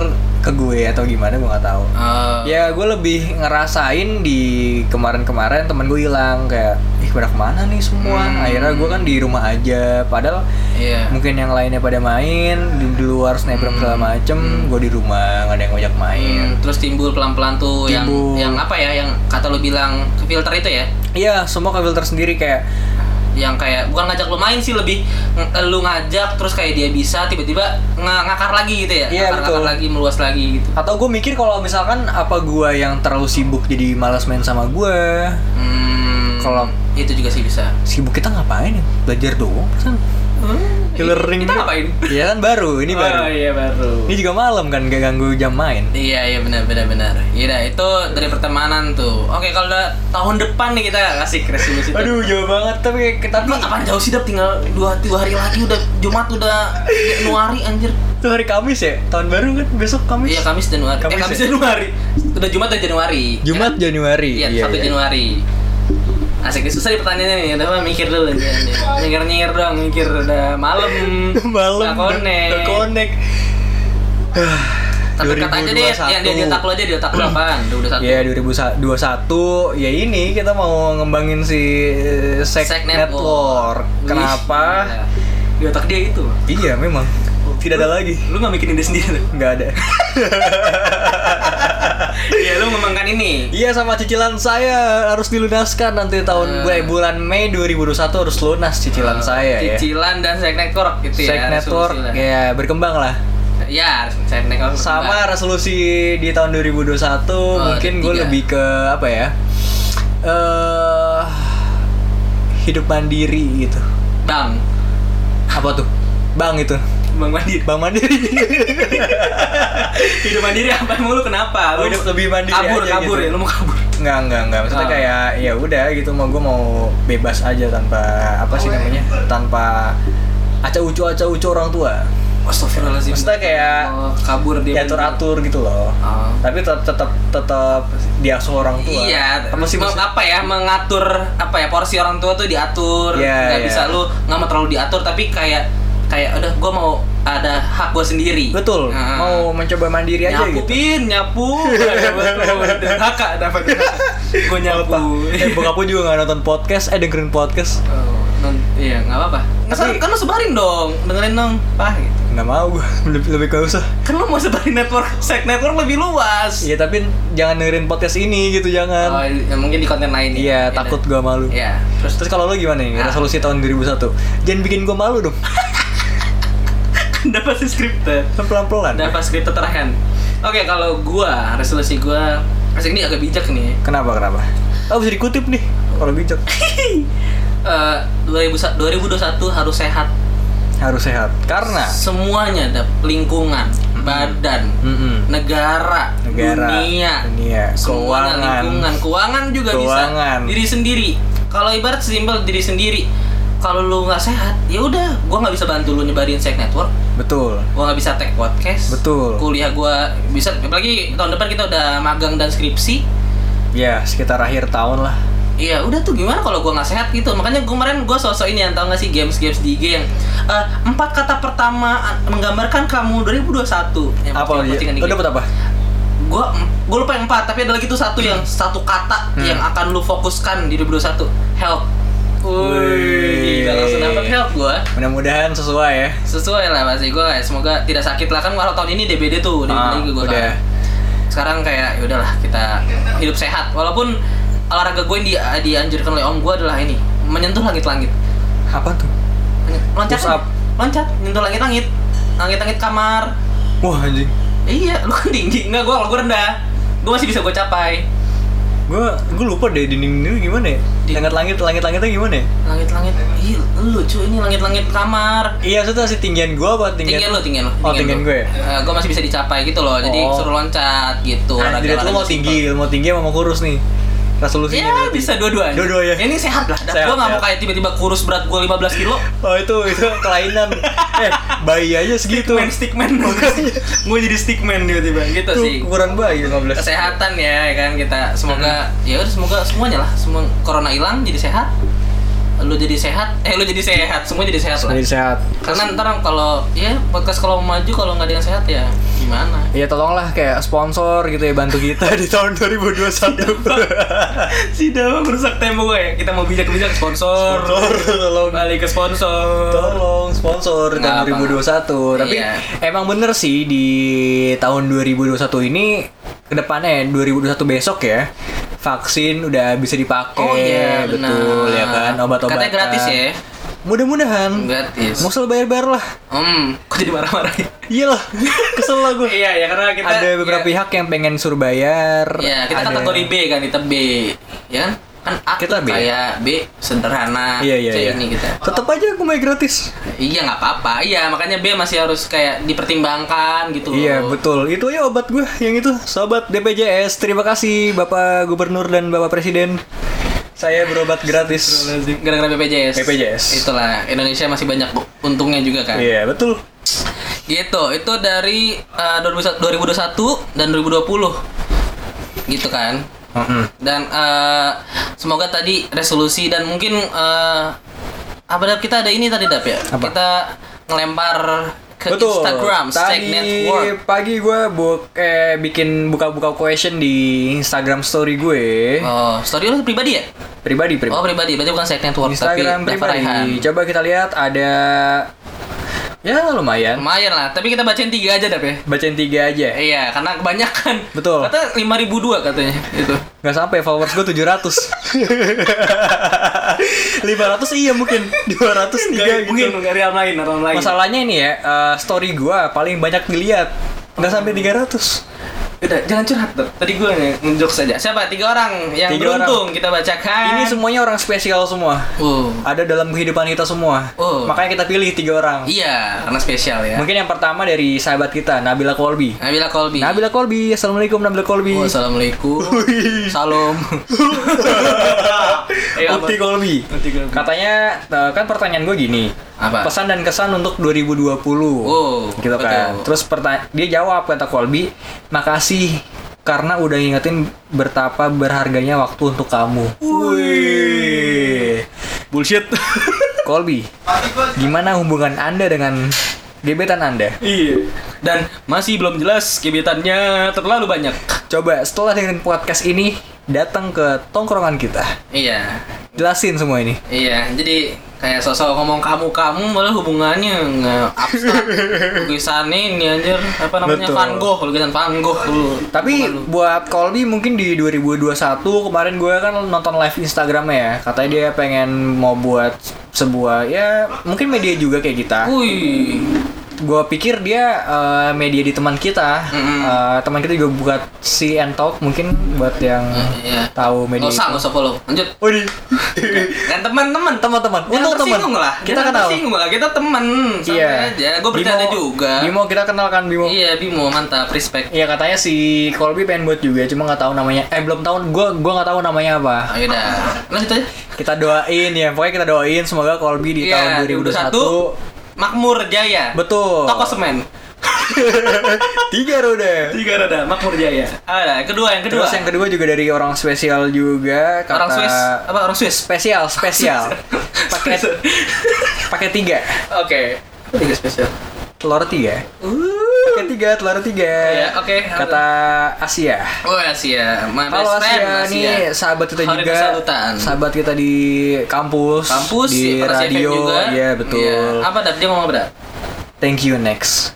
C: ke gue atau gimana gue nggak tahu.
B: Eh,
C: Ya gue lebih ngerasain di kemarin-kemarin temen gue hilang kayak ih pada kemana nih semua
B: Hmm.
C: akhirnya gue kan di rumah aja padahal
B: iya.
C: mungkin yang lainnya pada main di, di luar snapgram segala macem gue di rumah nggak ada yang ngajak main
B: Hmm, terus timbul pelan-pelan tuh yang
C: Timbul.
B: yang apa ya yang kata lu bilang ke filter itu ya
C: Iya semua ke filter sendiri kayak
B: yang kayak bukan ngajak lu main sih lebih ng- lu ngajak terus kayak dia bisa tiba-tiba nga- ngakar lagi gitu ya
C: Iya,
B: ngakar,
C: betul.
B: lagi meluas lagi gitu
C: atau gue mikir kalau misalkan apa gua yang terlalu sibuk jadi malas main sama gua
B: hmm,
C: Kalau-
B: itu juga sih bisa
C: sibuk kita ngapain ya belajar doang perasaan Learning
B: kita
C: doang.
B: ngapain
C: Iya kan baru ini baru
B: iya baru
C: ini juga malam kan gak ganggu jam main
B: Iya iya benar benar benar. Iya dah, itu dari pertemanan tuh. Oke kalau udah tahun depan nih kita kasih resolusi.
C: aduh jauh banget tapi tapi
B: Tapi kapan jauh sih Dap? tinggal dua, dua hari lagi udah Jumat udah Januari anjir.
C: itu hari Kamis ya tahun baru kan besok
B: Iya
C: Kamis
B: Kamis Januari.
C: Kamis
B: eh Kamis
C: ya?
B: Januari. Udah Jumat dan Januari.
C: Jumat Januari
B: Iya, satu Januari. Asik nih, susah nih pertanyaannya nih. Udah apa, mikir dulu nih. Nyengir nyengir doang mikir udah malam.
C: malam
B: Nggak connect.
C: nggak connect
B: Tapi kata aja deh yang dia di otak lu aja di otak lu apaan? Udah udah satu.
C: Ya 2021 ya ini kita mau ngembangin si eh, Sek,
B: Sek
C: Network.
B: Wih,
C: Kenapa?
B: gila. Di otak dia itu.
C: Iya memang.
B: Oh,
C: Tidak ada lagi.
B: Lu gak mikirin dia sendiri lu?
C: Nggak ada.
B: Iya, lu mengembangkan ini.
C: Iya sama cicilan saya harus dilunaskan nanti tahun
B: Eh.
C: bu- bulan Mei 2021 harus lunas cicilan saya ya.
B: Cicilan dan Sek Network gitu
C: Sek
B: ya.
C: Network
B: Ah, resolusi lah.
C: ya berkembang lah.
B: Ya, saya naik kalau
C: Sama
B: berkembang. resolusi.
C: resolusi di tahun 2021 mungkin
B: Oh, ada
C: gue
B: tiga.
C: lebih ke apa ya? Eh hidup mandiri gitu.
B: Bang,
C: Apa tuh? Bang itu.
B: Bang Mandiri.
C: Bang mandiri.
B: Hidup mandiri apa emang lu kenapa? Lu
C: Hidup lebih mandiri
B: kabur,
C: aja
B: kabur
C: gitu.
B: ya, lu mau kabur.
C: Enggak, enggak, enggak. Maksudnya
B: Ah.
C: kayak ya udah gitu mau gue mau bebas aja tanpa apa sih
B: Oh, iya.
C: namanya? Tanpa acak ucu acak ucu orang tua.
B: Astagfirullahaladzim.
C: Maksudnya kayak
B: Oh, kabur dia.
C: Diatur atur gitu loh.
B: Oh.
C: Tapi tetap tetap tetap diasuh orang tua.
B: Iya,
C: Apa sih
B: mau
C: maksud-
B: apa ya mengatur apa ya porsi orang tua tuh diatur,
C: Iya,
B: nggak
C: iya.
B: bisa lu nggak mau terlalu diatur tapi kayak kayak udah gua mau ada hak gua sendiri.
C: Betul.
B: Nah.
C: Mau mencoba mandiri aja
B: nyapu
C: gitu.
B: pin nyapu kakak dapat gue nyapu
C: Eh, bokap gua juga nggak nonton podcast, eh dengerin podcast.
B: Oh, non- iya nggak apa-apa Nggak salah, kan lo sebarin dong dengerin dong pah gitu
C: Nggak mau gue, lebih lebih gak usah.
B: kan lo mau sebarin network sek network lebih luas
C: Iya tapi jangan dengerin podcast ini gitu
B: oh,
C: jangan.
B: ya mungkin di konten lain ya.
C: Iya takut gua malu.
B: Iya.
C: Terus terus kalau lu gimana nih
B: Ah.
C: resolusi tahun 2001? Jangan bikin gua malu dong.
B: dapat si skripte
C: Pelan-pelan.
B: dapat skripte terakhir oke kalau gua resolusi gua Asik ini agak bijak nih
C: Kenapa kenapa? Oh bisa dikutip nih kalau bijak.
B: Eh, 2000 2021 harus sehat
C: Harus sehat karena
B: semuanya dap lingkungan badan,
C: Mm-mm.
B: negara,
C: Hmm. Negara,
B: dunia,
C: dunia,
B: semuanya,
C: keuangan.
B: lingkungan, keuangan juga
C: Keuangan.
B: bisa, diri sendiri. Kalau ibarat simpel diri sendiri, kalau lu nggak sehat, ya udah, gua nggak bisa bantu lu nyebarin Psych Network,
C: Betul.
B: gua nggak bisa take podcast,
C: Betul.
B: kuliah gua bisa, apalagi tahun depan kita udah magang dan skripsi,
C: Ya, sekitar akhir tahun lah.
B: Iya, udah tuh gimana kalau gua nggak sehat gitu. Makanya kemarin gua sosok ini yang tau nggak sih games-games di IG yang eh, empat kata pertama an- menggambarkan kamu 2021. Yang
C: Apa dia?
B: postingan-postingan di
C: Lo
B: IG.
C: dapet apa?
B: Gua gua lupa yang empat, tapi ada lagi tuh satu yang satu kata
C: Hmm.
B: yang akan lu fokuskan di 2021. Help.
C: Wih.
B: Wih, gak langsung dapet help gua.
C: Mudah-mudahan sesuai ya.
B: Sesuai lah pasti gua ya, semoga tidak sakit lah kan kalau tahun ini DBD tuh DBD
C: Ah,
B: gua
C: udah.
B: kan. Sekarang kayak ya udahlah kita hidup sehat. Walaupun olahraga gue yang di- eh, dianjurkan oleh om gue adalah ini menyentuh langit-langit
C: Apa tuh?
B: loncat
C: Push up.
B: loncat nyentuh langit langit langit langit kamar
C: Wah anjing.
B: iya lu kan tinggi enggak gua kalau gua rendah gua masih bisa gua capai
C: Gue gue lupa deh dinding dinding gimana ya?
B: Dinding.
C: Langit langit langit langitnya gimana ya?
B: langit langit iya lu cuy ini langit langit kamar
C: Iya, maksudnya si tinggian gue apa tinggian?
B: tinggian lu tinggian lu
C: Oh, tinggian
B: lu.
C: gue ya?
B: Eh, gua masih bisa dicapai gitu loh jadi
C: Oh.
B: suruh loncat gitu
C: Nah,
B: olahraga-
C: jadi lu
B: olahraga
C: mau
B: simpel.
C: tinggi, lu mau tinggi sama mau kurus nih. Resolusinya
B: Ya
C: berarti.
B: bisa dua-duanya
C: Dua-duanya.
B: Ini sehat lah Dan
C: Sehat,
B: Gua nggak mau
C: sehat.
B: kayak tiba-tiba kurus berat gua 15 kilo
C: Oh itu itu kelainan. eh, bayi aja segitu.
B: Stickman, stickman Gua jadi stickman tiba-tiba Gitu
C: Tuh,
B: sih
C: ukuran bayi 15.
B: kesehatan ya ya kan kita semoga ya udah semoga semuanya lah semua corona hilang jadi sehat lu jadi sehat eh lu jadi sehat semua jadi sehat lah
C: Jadi Iya, sehat.
B: karena ntar kalau ya podcast kalau mau maju kalau nggak ada yang sehat ya gimana
C: Ya tolonglah kayak sponsor gitu ya bantu kita di tahun
B: Iya,
C: 2021.
B: si Dawa merusak tempo gue ya kita mau bijak-bijak sponsor,
C: tolong
B: balik ke sponsor
C: tolong sponsor
B: Nggak
C: tahun 2021. Tapi
B: Iya.
C: emang bener sih di tahun 2021 ini eh, kedepannya 2021 besok ya vaksin udah bisa dipakai
B: Oh iya, benar.
C: betul ya kan obat-obatan
B: Katanya gratis ya?
C: mudah-mudahan
B: Hmm. Gratis.
C: Maksud lo bayar-bayar lah
B: hmm kok jadi marah-marah ya?
C: iyalah kesel lah gue
B: iya ya karena kita
C: ada beberapa
B: ya,
C: pihak yang pengen suruh bayar
B: ya kita
C: Iya, ada-
B: kategori B kan kita B ya kan kan A
C: Kita
B: kita
C: B.
B: kayak B sederhana
C: iya iya
B: C
C: iya
B: ini kita
C: tetap aja aku mau gratis
B: Iya nggak apa-apa. Iya makanya B masih harus kayak dipertimbangkan gitu.
C: Iya
B: loh.
C: betul itu ya obat gue yang itu sobat DPJS terima kasih Bapak Gubernur dan Bapak Presiden saya berobat gratis
B: Gara-gara BPJS.
C: BPJS.
B: Itulah Indonesia masih banyak untungnya juga kan.
C: iya betul
B: Gitu. Itu dari eh, 2021 dan 2020. Gitu kan. Dan eh, semoga tadi resolusi dan mungkin eh, apa Dap? kita ada ini tadi Dap ya.
C: Apa?
B: Kita ngelempar ke
C: betul
B: Instagram, Stack
C: tadi
B: Network.
C: pagi gue bu eh, bikin buka-buka question di Instagram Story gue
B: Oh, story lu pribadi ya?
C: pribadi pribadi
B: Oh, pribadi. Berarti bukan Stack Network
C: Instagram
B: tapi Dava
C: pribadi
B: Raihan.
C: coba kita lihat ada ya lumayan
B: Lumayan lah, tapi kita bacain tiga aja Dap ya
C: bacain tiga aja
B: Iya, karena kebanyakan
C: Betul.
B: Kata 5002 katanya gitu. itu.
C: nggak sampai followers gue 700 500 iya mungkin 200 tiga gitu
B: nggak real lain, orang lain
C: Masalahnya ini ya, eh, story gua paling banyak dilihat. Nggak sampai
B: Hmm.
C: 300.
B: Udah, jangan curhat Dap Tadi gue ngejok saja Siapa? Tiga orang yang
C: Tiga orang.
B: beruntung kita bacakan
C: Ini semuanya orang spesial semua.
B: Oh,
C: Ada dalam kehidupan kita semua.
B: Oh.
C: Makanya kita pilih tiga orang.
B: Iya, karena spesial ya
C: Mungkin yang pertama dari sahabat kita, Nabila Kolbi.
B: Nabila Kolbi
C: Nabila Kolbi, Assalamualaikum Nabila
B: Iya.
C: Kolbi.
B: Oh, Assalamualaikum Salam Iya, Ayo, Eh, apa?
C: Ukti Kolbi.
B: Ukti Kolbi.
C: Katanya, eh, kan pertanyaan gue gini.
B: Apa?
C: Pesan dan kesan untuk 2020.
B: Oh,
C: gitu kan.
B: betul.
C: Terus perta- dia jawab kata Kolbi, "Makasih karena udah ngingetin betapa berharganya waktu untuk kamu." Wih. Bullshit. Kolbi, gimana hubungan Anda dengan gebetan Anda?
B: Iya Dan masih belum jelas gebetannya terlalu banyak
C: Coba setelah dengerin podcast ini, datang ke tongkrongan kita.
B: Iya,
C: Jelasin semua ini.
B: Iya, jadi kayak sosok ngomong kamu-kamu malah hubungannya nggak abstrak. Lukisan ini anjir, apa namanya?
C: Betul.
B: Van Gogh, lukisan Van Gogh dulu.
C: Tapi buat Colby mungkin di 2021 kemarin gue kan nonton live Instagramnya ya Katanya dia pengen mau buat sebuah ya mungkin media juga kayak kita
B: Wih,
C: gue pikir dia eh, media di teman kita
B: Mm-mm.
C: Eh, teman kita juga buat si and talk mungkin buat yang
B: Iya.
C: tahu media
B: Nggak usah, nggak usah follow. Lanjut.
C: Waduh.
B: Dan teman-teman,
C: teman-teman
B: Jangan
C: untuk teman
B: tersinggung lah.
C: kita
B: Jangan
C: kenal Iya.
B: tersinggung lah. Kita teman. Santai aja. Gue bercanda
C: Bimo-
B: juga.
C: Bimo kita kenal kan Bimo
B: Iya, Bimo mantap, respect.
C: Iya katanya si Colby pengen buat juga, cuma nggak tahu namanya. Eh belum tahu, gua gua nggak tahu namanya apa.
B: Ayo dah. Lanjut aja.
C: Kita doain ya, pokoknya kita doain semoga Colby di
B: Iya,
C: tahun
B: 2021
C: 2021
B: Makmur Jaya.
C: betul.
B: Toko semen.
C: Tiga roda.
B: Tiga roda, Makmur Jaya. Ada, kedua yang kedua.
C: Terus yang kedua juga dari orang spesial juga kata
B: orang Swiss apa orang Swiss?
C: spesial spesial pakai
B: Oke.
C: pakai tiga
B: Tiga spesial.
C: telur tiga pakai tiga telur tiga
B: Uh. Iya, oke.
C: kata Asia
B: Oh Asia, my best
C: Halo
B: friend
C: Asia, nih sahabat kita
B: Hari
C: juga,
B: persahabatan.
C: sahabat kita di kampus,
B: Kampus,
C: di
B: Persia FM
C: radio,
B: juga.
C: iya betul.
B: Iya. Apa dap dia ngomong apa Dap?
C: Thank you next.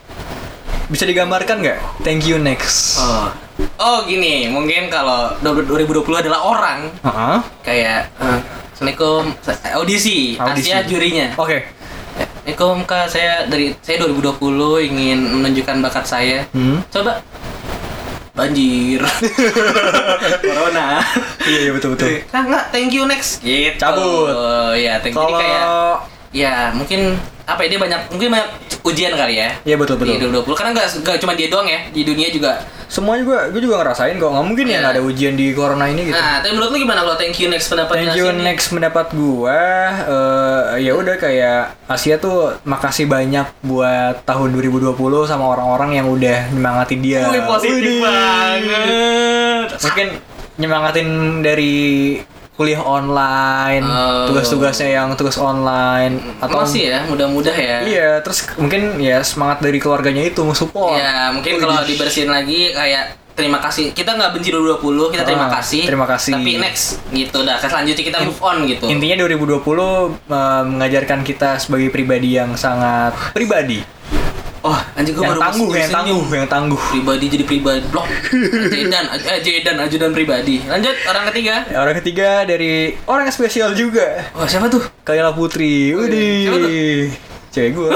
C: Bisa digambarkan nggak? Thank you next.
B: Oh. oh gini, mungkin kalau 2020 adalah orang
C: Heeh.
B: kayak eh, Assalamualaikum eh, audisi,
C: Audisi.
B: Asia jurinya.
C: Oke.
B: Assalamualaikum kak, saya dari saya 2020 ingin menunjukkan bakat saya.
C: Hmm.
B: Coba banjir, corona.
C: Iya iya, betul betul.
B: Nah, enggak, thank you next. Gitu.
C: Cabut.
B: Oh, ya, thank you. Jadi
C: Kalau
B: kayak ya mungkin apa ya dia banyak mungkin banyak ujian kali ya.
C: Iya betul
B: Di
C: betul.
B: 2020 karena enggak enggak cuma dia doang ya, di dunia juga.
C: Semuanya gue gue juga ngerasain kok nggak mungkin
B: Iya.
C: ya nggak ada ujian di corona ini gitu.
B: Nah, tapi menurut lu gimana kalau thank you next pendapatnya? ya?
C: Thank you
B: sini?
C: next mendapat gua eh, ya udah kayak Asia tuh makasih banyak buat tahun 2020 sama orang-orang yang udah nyemangati dia.
B: Wih, positif
C: ya. Widih.
B: banget.
C: Mungkin nyemangatin dari kuliah online,
B: Oh.
C: tugas-tugasnya yang tugas online atau
B: Masih ya, mudah-mudah ya.
C: Iya, terus mungkin ya semangat dari keluarganya itu support.
B: Ya, mungkin
C: Widih.
B: kalau dibersihin lagi kayak terima kasih. Kita nggak benci 2020, kita terima
C: Ah,
B: kasih.
C: terima kasih.
B: Tapi next gitu dah. Selanjutnya kita move on gitu.
C: Intinya 2020 eh, mengajarkan kita sebagai pribadi yang sangat pribadi.
B: Oh, anjing gua
C: yang
B: baru
C: tangguh, yang
B: senyum.
C: tangguh, yang tangguh.
B: pribadi jadi pribadi blok Jaden eh Jaden ajudan pribadi lanjut orang ketiga
C: Orang ketiga dari orang yang spesial juga.
B: oh siapa tuh
C: Kayla Putri.
B: Oh, iya. Siapa
C: Widih. Cewek gue.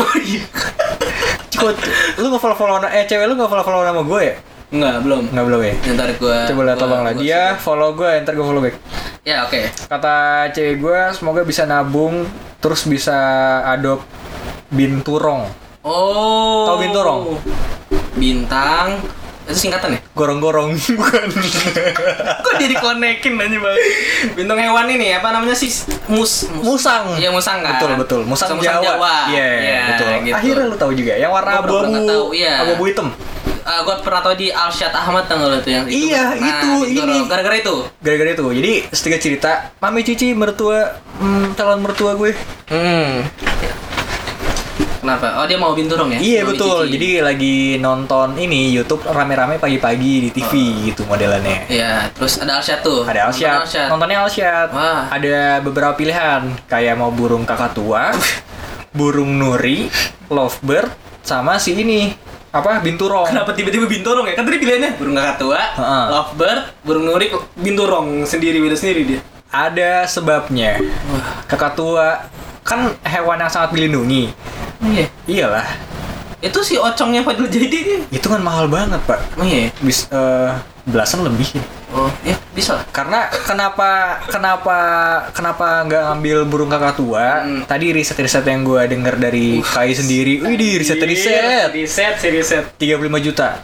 C: Cepet. Lu nggak follow follow eh cewek lu nggak follow follow nama gue ya?
B: Enggak, belum
C: Nggak belum ya?
B: ntar gue
C: Coba lihat abang lah. Dia follow gue, ntar gue follow back.
B: ya oke
C: Kata cewek gue, semoga bisa nabung, terus bisa adopt binturong,
B: oh
C: Tahu Binturong?
B: bintang itu singkatan ya
C: gorong-gorong bukan?
B: kok jadi konekin aja banget bintang hewan ini apa namanya sih mus, mus.
C: Musang.
B: Iya, musang kan?
C: Betul betul. Musang,
B: Musang-musang
C: Jawa.
B: Jawa.
C: Iya
B: Iya,
C: betul.
B: gitu.
C: Akhirnya lu tahu juga ya, yang
B: Gua
C: warna
B: baru
C: abu-abu,
B: nggak tahu, iya.
C: abu-abu hitam.
B: gue Eh, pernah tau di Alsyad Ahmad tau nggak lo tuh yang itu
C: Iya, itu,
B: Binturong.
C: ini.
B: gara-gara itu
C: Gara-gara itu. Jadi setiga cerita, mami cici mertua hmm, calon mertua gue.
B: hmm kenapa oh dia mau binturong ya
C: Iya
B: Mau
C: betul.
B: dicuci.
C: Jadi lagi nonton ini YouTube rame-rame pagi-pagi di TV gitu modelannya.
B: Iya, terus ada Alsyad tuh.
C: Ada Alsyad.
B: Nonton Alsyad.
C: Nontonnya Alsyad.
B: Wah.
C: Ada beberapa pilihan kayak mau burung kakatua, burung nuri, lovebird, sama si ini apa binturong.
B: Kenapa tiba-tiba binturong ya? Kan tadi pilihannya burung kakak tua,
C: Heeh.
B: lovebird, burung nuri, binturong sendiri beda sendiri dia.
C: Ada sebabnya. Kakatua kan hewan yang sangat dilindungi.
B: Iya.
C: Iyalah,
B: Itu si ocongnya Fadil jadi kan?
C: itu kan mahal banget, Pak.
B: Oh iya.
C: Bis eh, belasan lebih.
B: Oh, ya bisa lah.
C: Karena kenapa kenapa kenapa nggak ngambil burung kakak
B: Hmm.
C: Tadi riset-riset yang gue denger dari Kai sendiri. Wih, di riset-riset.
B: Riset, si riset.
C: 35 juta.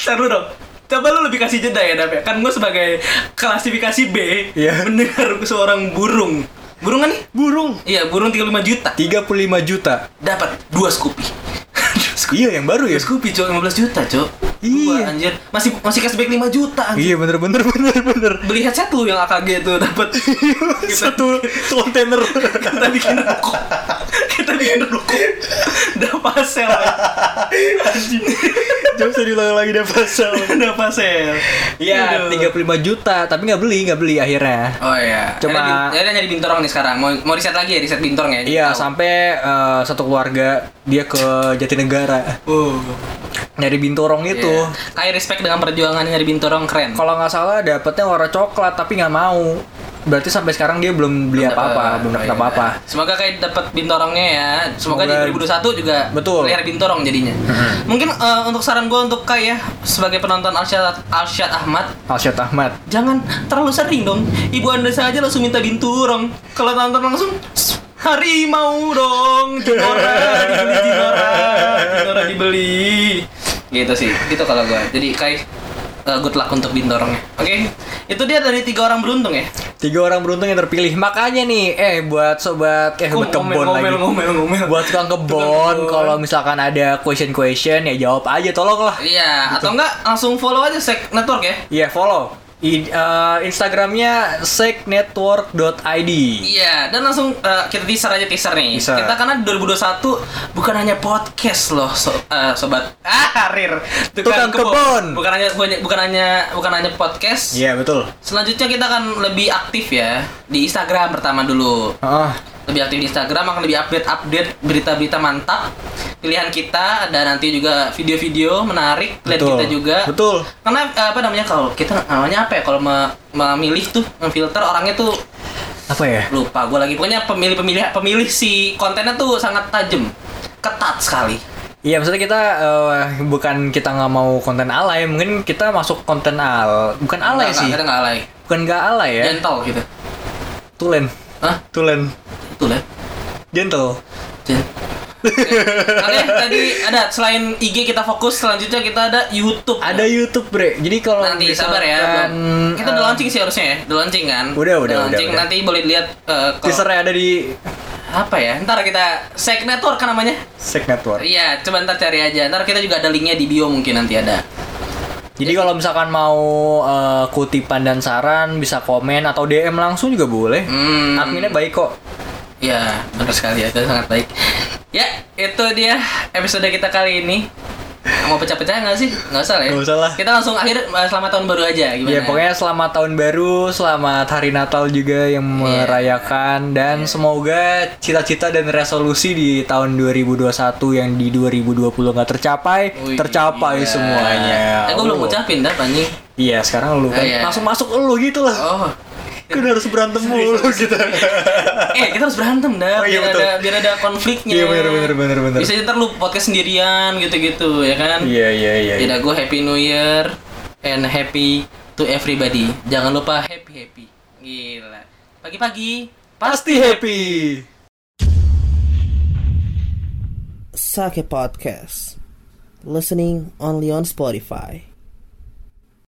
B: Seru dong. Coba lu lebih kasih jeda ya, Dap. ya. Kan gue sebagai klasifikasi B
C: Iya.
B: mendengar seorang burung. Burung kan nih?
C: Burung
B: Iya, burung 35 juta.
C: 35 juta.
B: Dapat dua Scoopy. Dua Scoopy.
C: Iya, yang baru ya.
B: Terus Scoopy cok 15 juta cok
C: Iya.
B: Dua, anjir Masih masih cashback 5 juta anjir.
C: Iya, bener bener bener bener.
B: Beli headset lu yang AKG tuh dapat
C: Iya, Satu satu kontainer.
B: Kita bikin ruko Kita bikin ruko Udah pasel
C: Jangan usah diulang lagi deh pasal.
B: Udah pasel
C: Iya,
B: Aduh.
C: 35 juta, tapi nggak beli, nggak beli akhirnya.
B: Oh iya Akhirnya
C: Cuma-
B: bin- Akhirnya nyari bintorong nih sekarang Mau, mau riset lagi ya riset bintorong ya
C: Iya, sampai eh, satu keluarga dia ke Jatinegara
B: Oh
C: nyari binturong itu.
B: Itu Kayak respect dengan perjuangan nyari bintorong keren
C: Kalau nggak salah dapetnya warna coklat tapi nggak mau. berarti sampai sekarang dia belum beli apa-apa, belum
B: Oh,
C: dapat
B: iya.
C: apa-apa.
B: Semoga kayak dapat bintorongnya ya. Semoga,
C: Semoga-
B: di 2021 juga
C: Betul.
B: pelihara bintorong jadinya. Mungkin eh, untuk saran gue untuk kayak ya sebagai penonton Arsyad Arsyad Ahmad
C: Alsyad Ahmad.
B: jangan terlalu sering dong. Ibu anda saja langsung minta binturong. Kalau nonton langsung harimau dong. Jinora dibeli Jinora, Jinora dibeli. Gitu sih. Itu kalau gue. Jadi kayak eh, good luck untuk bintorongnya. Oke. Itu dia dari tiga orang beruntung ya.
C: Tiga orang beruntung yang terpilih. Makanya nih, eh buat sobat eh buat
B: Ngomel,
C: kebon
B: ngomel,
C: lagi.
B: ngomel, ngomel.
C: Buat
B: Tukang
C: tukang kebon,
B: kebon.
C: kalau misalkan ada question question ya jawab aja tolong lah.
B: Iya, atau enggak langsung follow aja Sek Network ya.
C: Iya follow. I, eh, Instagramnya seknetwork.id.
B: Iya, dan langsung eh, kita teaser aja teaser nih.
C: Teaser.
B: Kita karena 2021 bukan hanya podcast loh, so- eh, sobat. Ah, Rir.
C: Tukang kebon.
B: Bukan hanya bukan, bukan hanya bukan hanya podcast.
C: Iya betul.
B: Selanjutnya kita akan lebih aktif ya di Instagram pertama dulu.
C: Ah,
B: Lebih aktif di Instagram akan lebih update-update berita-berita mantap pilihan kita dan nanti juga video-video menarik pilihan
C: betul.
B: kita juga.
C: Betul.
B: Karena eh, apa namanya kalau kita namanya apa ya kalau me- memilih tuh memfilter orangnya tuh
C: Apa ya?
B: lupa gue lagi pokoknya pemilih-pemilih pemilih si kontennya tuh sangat tajam ketat sekali
C: Iya maksudnya kita eh, bukan kita nggak mau konten alay, mungkin kita masuk konten al bukan alay
B: Nggak-
C: sih,
B: nggak- kita nggak alay
C: bukan nggak alay ya,
B: gentle gitu
C: tulen,
B: Hah?
C: tulen,
B: itu lah
C: gentle.
B: Gen- Oke, tadi ada selain IG kita fokus, selanjutnya kita ada YouTube.
C: Ada YouTube bre, jadi kalau
B: nanti sabar ya.
C: misalkan,
B: belum- Kita udah
C: eh,
B: launching sih harusnya ya, udah launching kan?
C: Udah, udah, udah,
B: launching.
C: udah.
B: Nanti boleh lihat eh, kalau-
C: teasernya ada di
B: apa ya? Ntar kita Sek Network kan namanya?
C: Sek Network.
B: Iya, coba ntar cari aja. Ntar kita juga ada linknya di bio mungkin nanti ada.
C: Jadi kalau misalkan mau eh, kutipan dan saran bisa komen atau DM langsung juga boleh.
B: Hmm.
C: Adminnya baik kok.
B: Ya, benar sekali ya. Itu sangat baik. Ya, itu dia episode kita kali ini. Mau pecah-pecah nggak sih? Nggak usah lah ya.
C: Nggak usah lah.
B: Kita langsung akhir eh, selamat tahun baru aja gimana?
C: Ya pokoknya selamat tahun baru, selamat hari Natal juga yang
B: Iya.
C: merayakan dan semoga cita-cita dan resolusi di tahun 2021 yang di 2020 nggak tercapai,
B: Wih, iya.
C: tercapai semuanya. Oh.
B: Eh, gua belum
C: Lu.
B: ucapin dah anjing.
C: Iya, sekarang lu kan
B: Iya.
C: langsung masuk lu gitu lah.
B: Oh.
C: Kan harus berantem mulu gitu.
B: Eh, kita harus berantem dah
C: Oh, iya,
B: biar
C: betul.
B: ada biar ada konfliknya.
C: Iya, bener, bener, bener, bener.
B: Bisa aja ntar lu podcast sendirian gitu-gitu ya kan?
C: Iya, iya, iya. iya.
B: Tidak gue happy new year and happy to everybody. Jangan lupa happy happy. Gila. Pagi-pagi
C: Pasti happy.
A: Sake Podcast. Listening only on Spotify.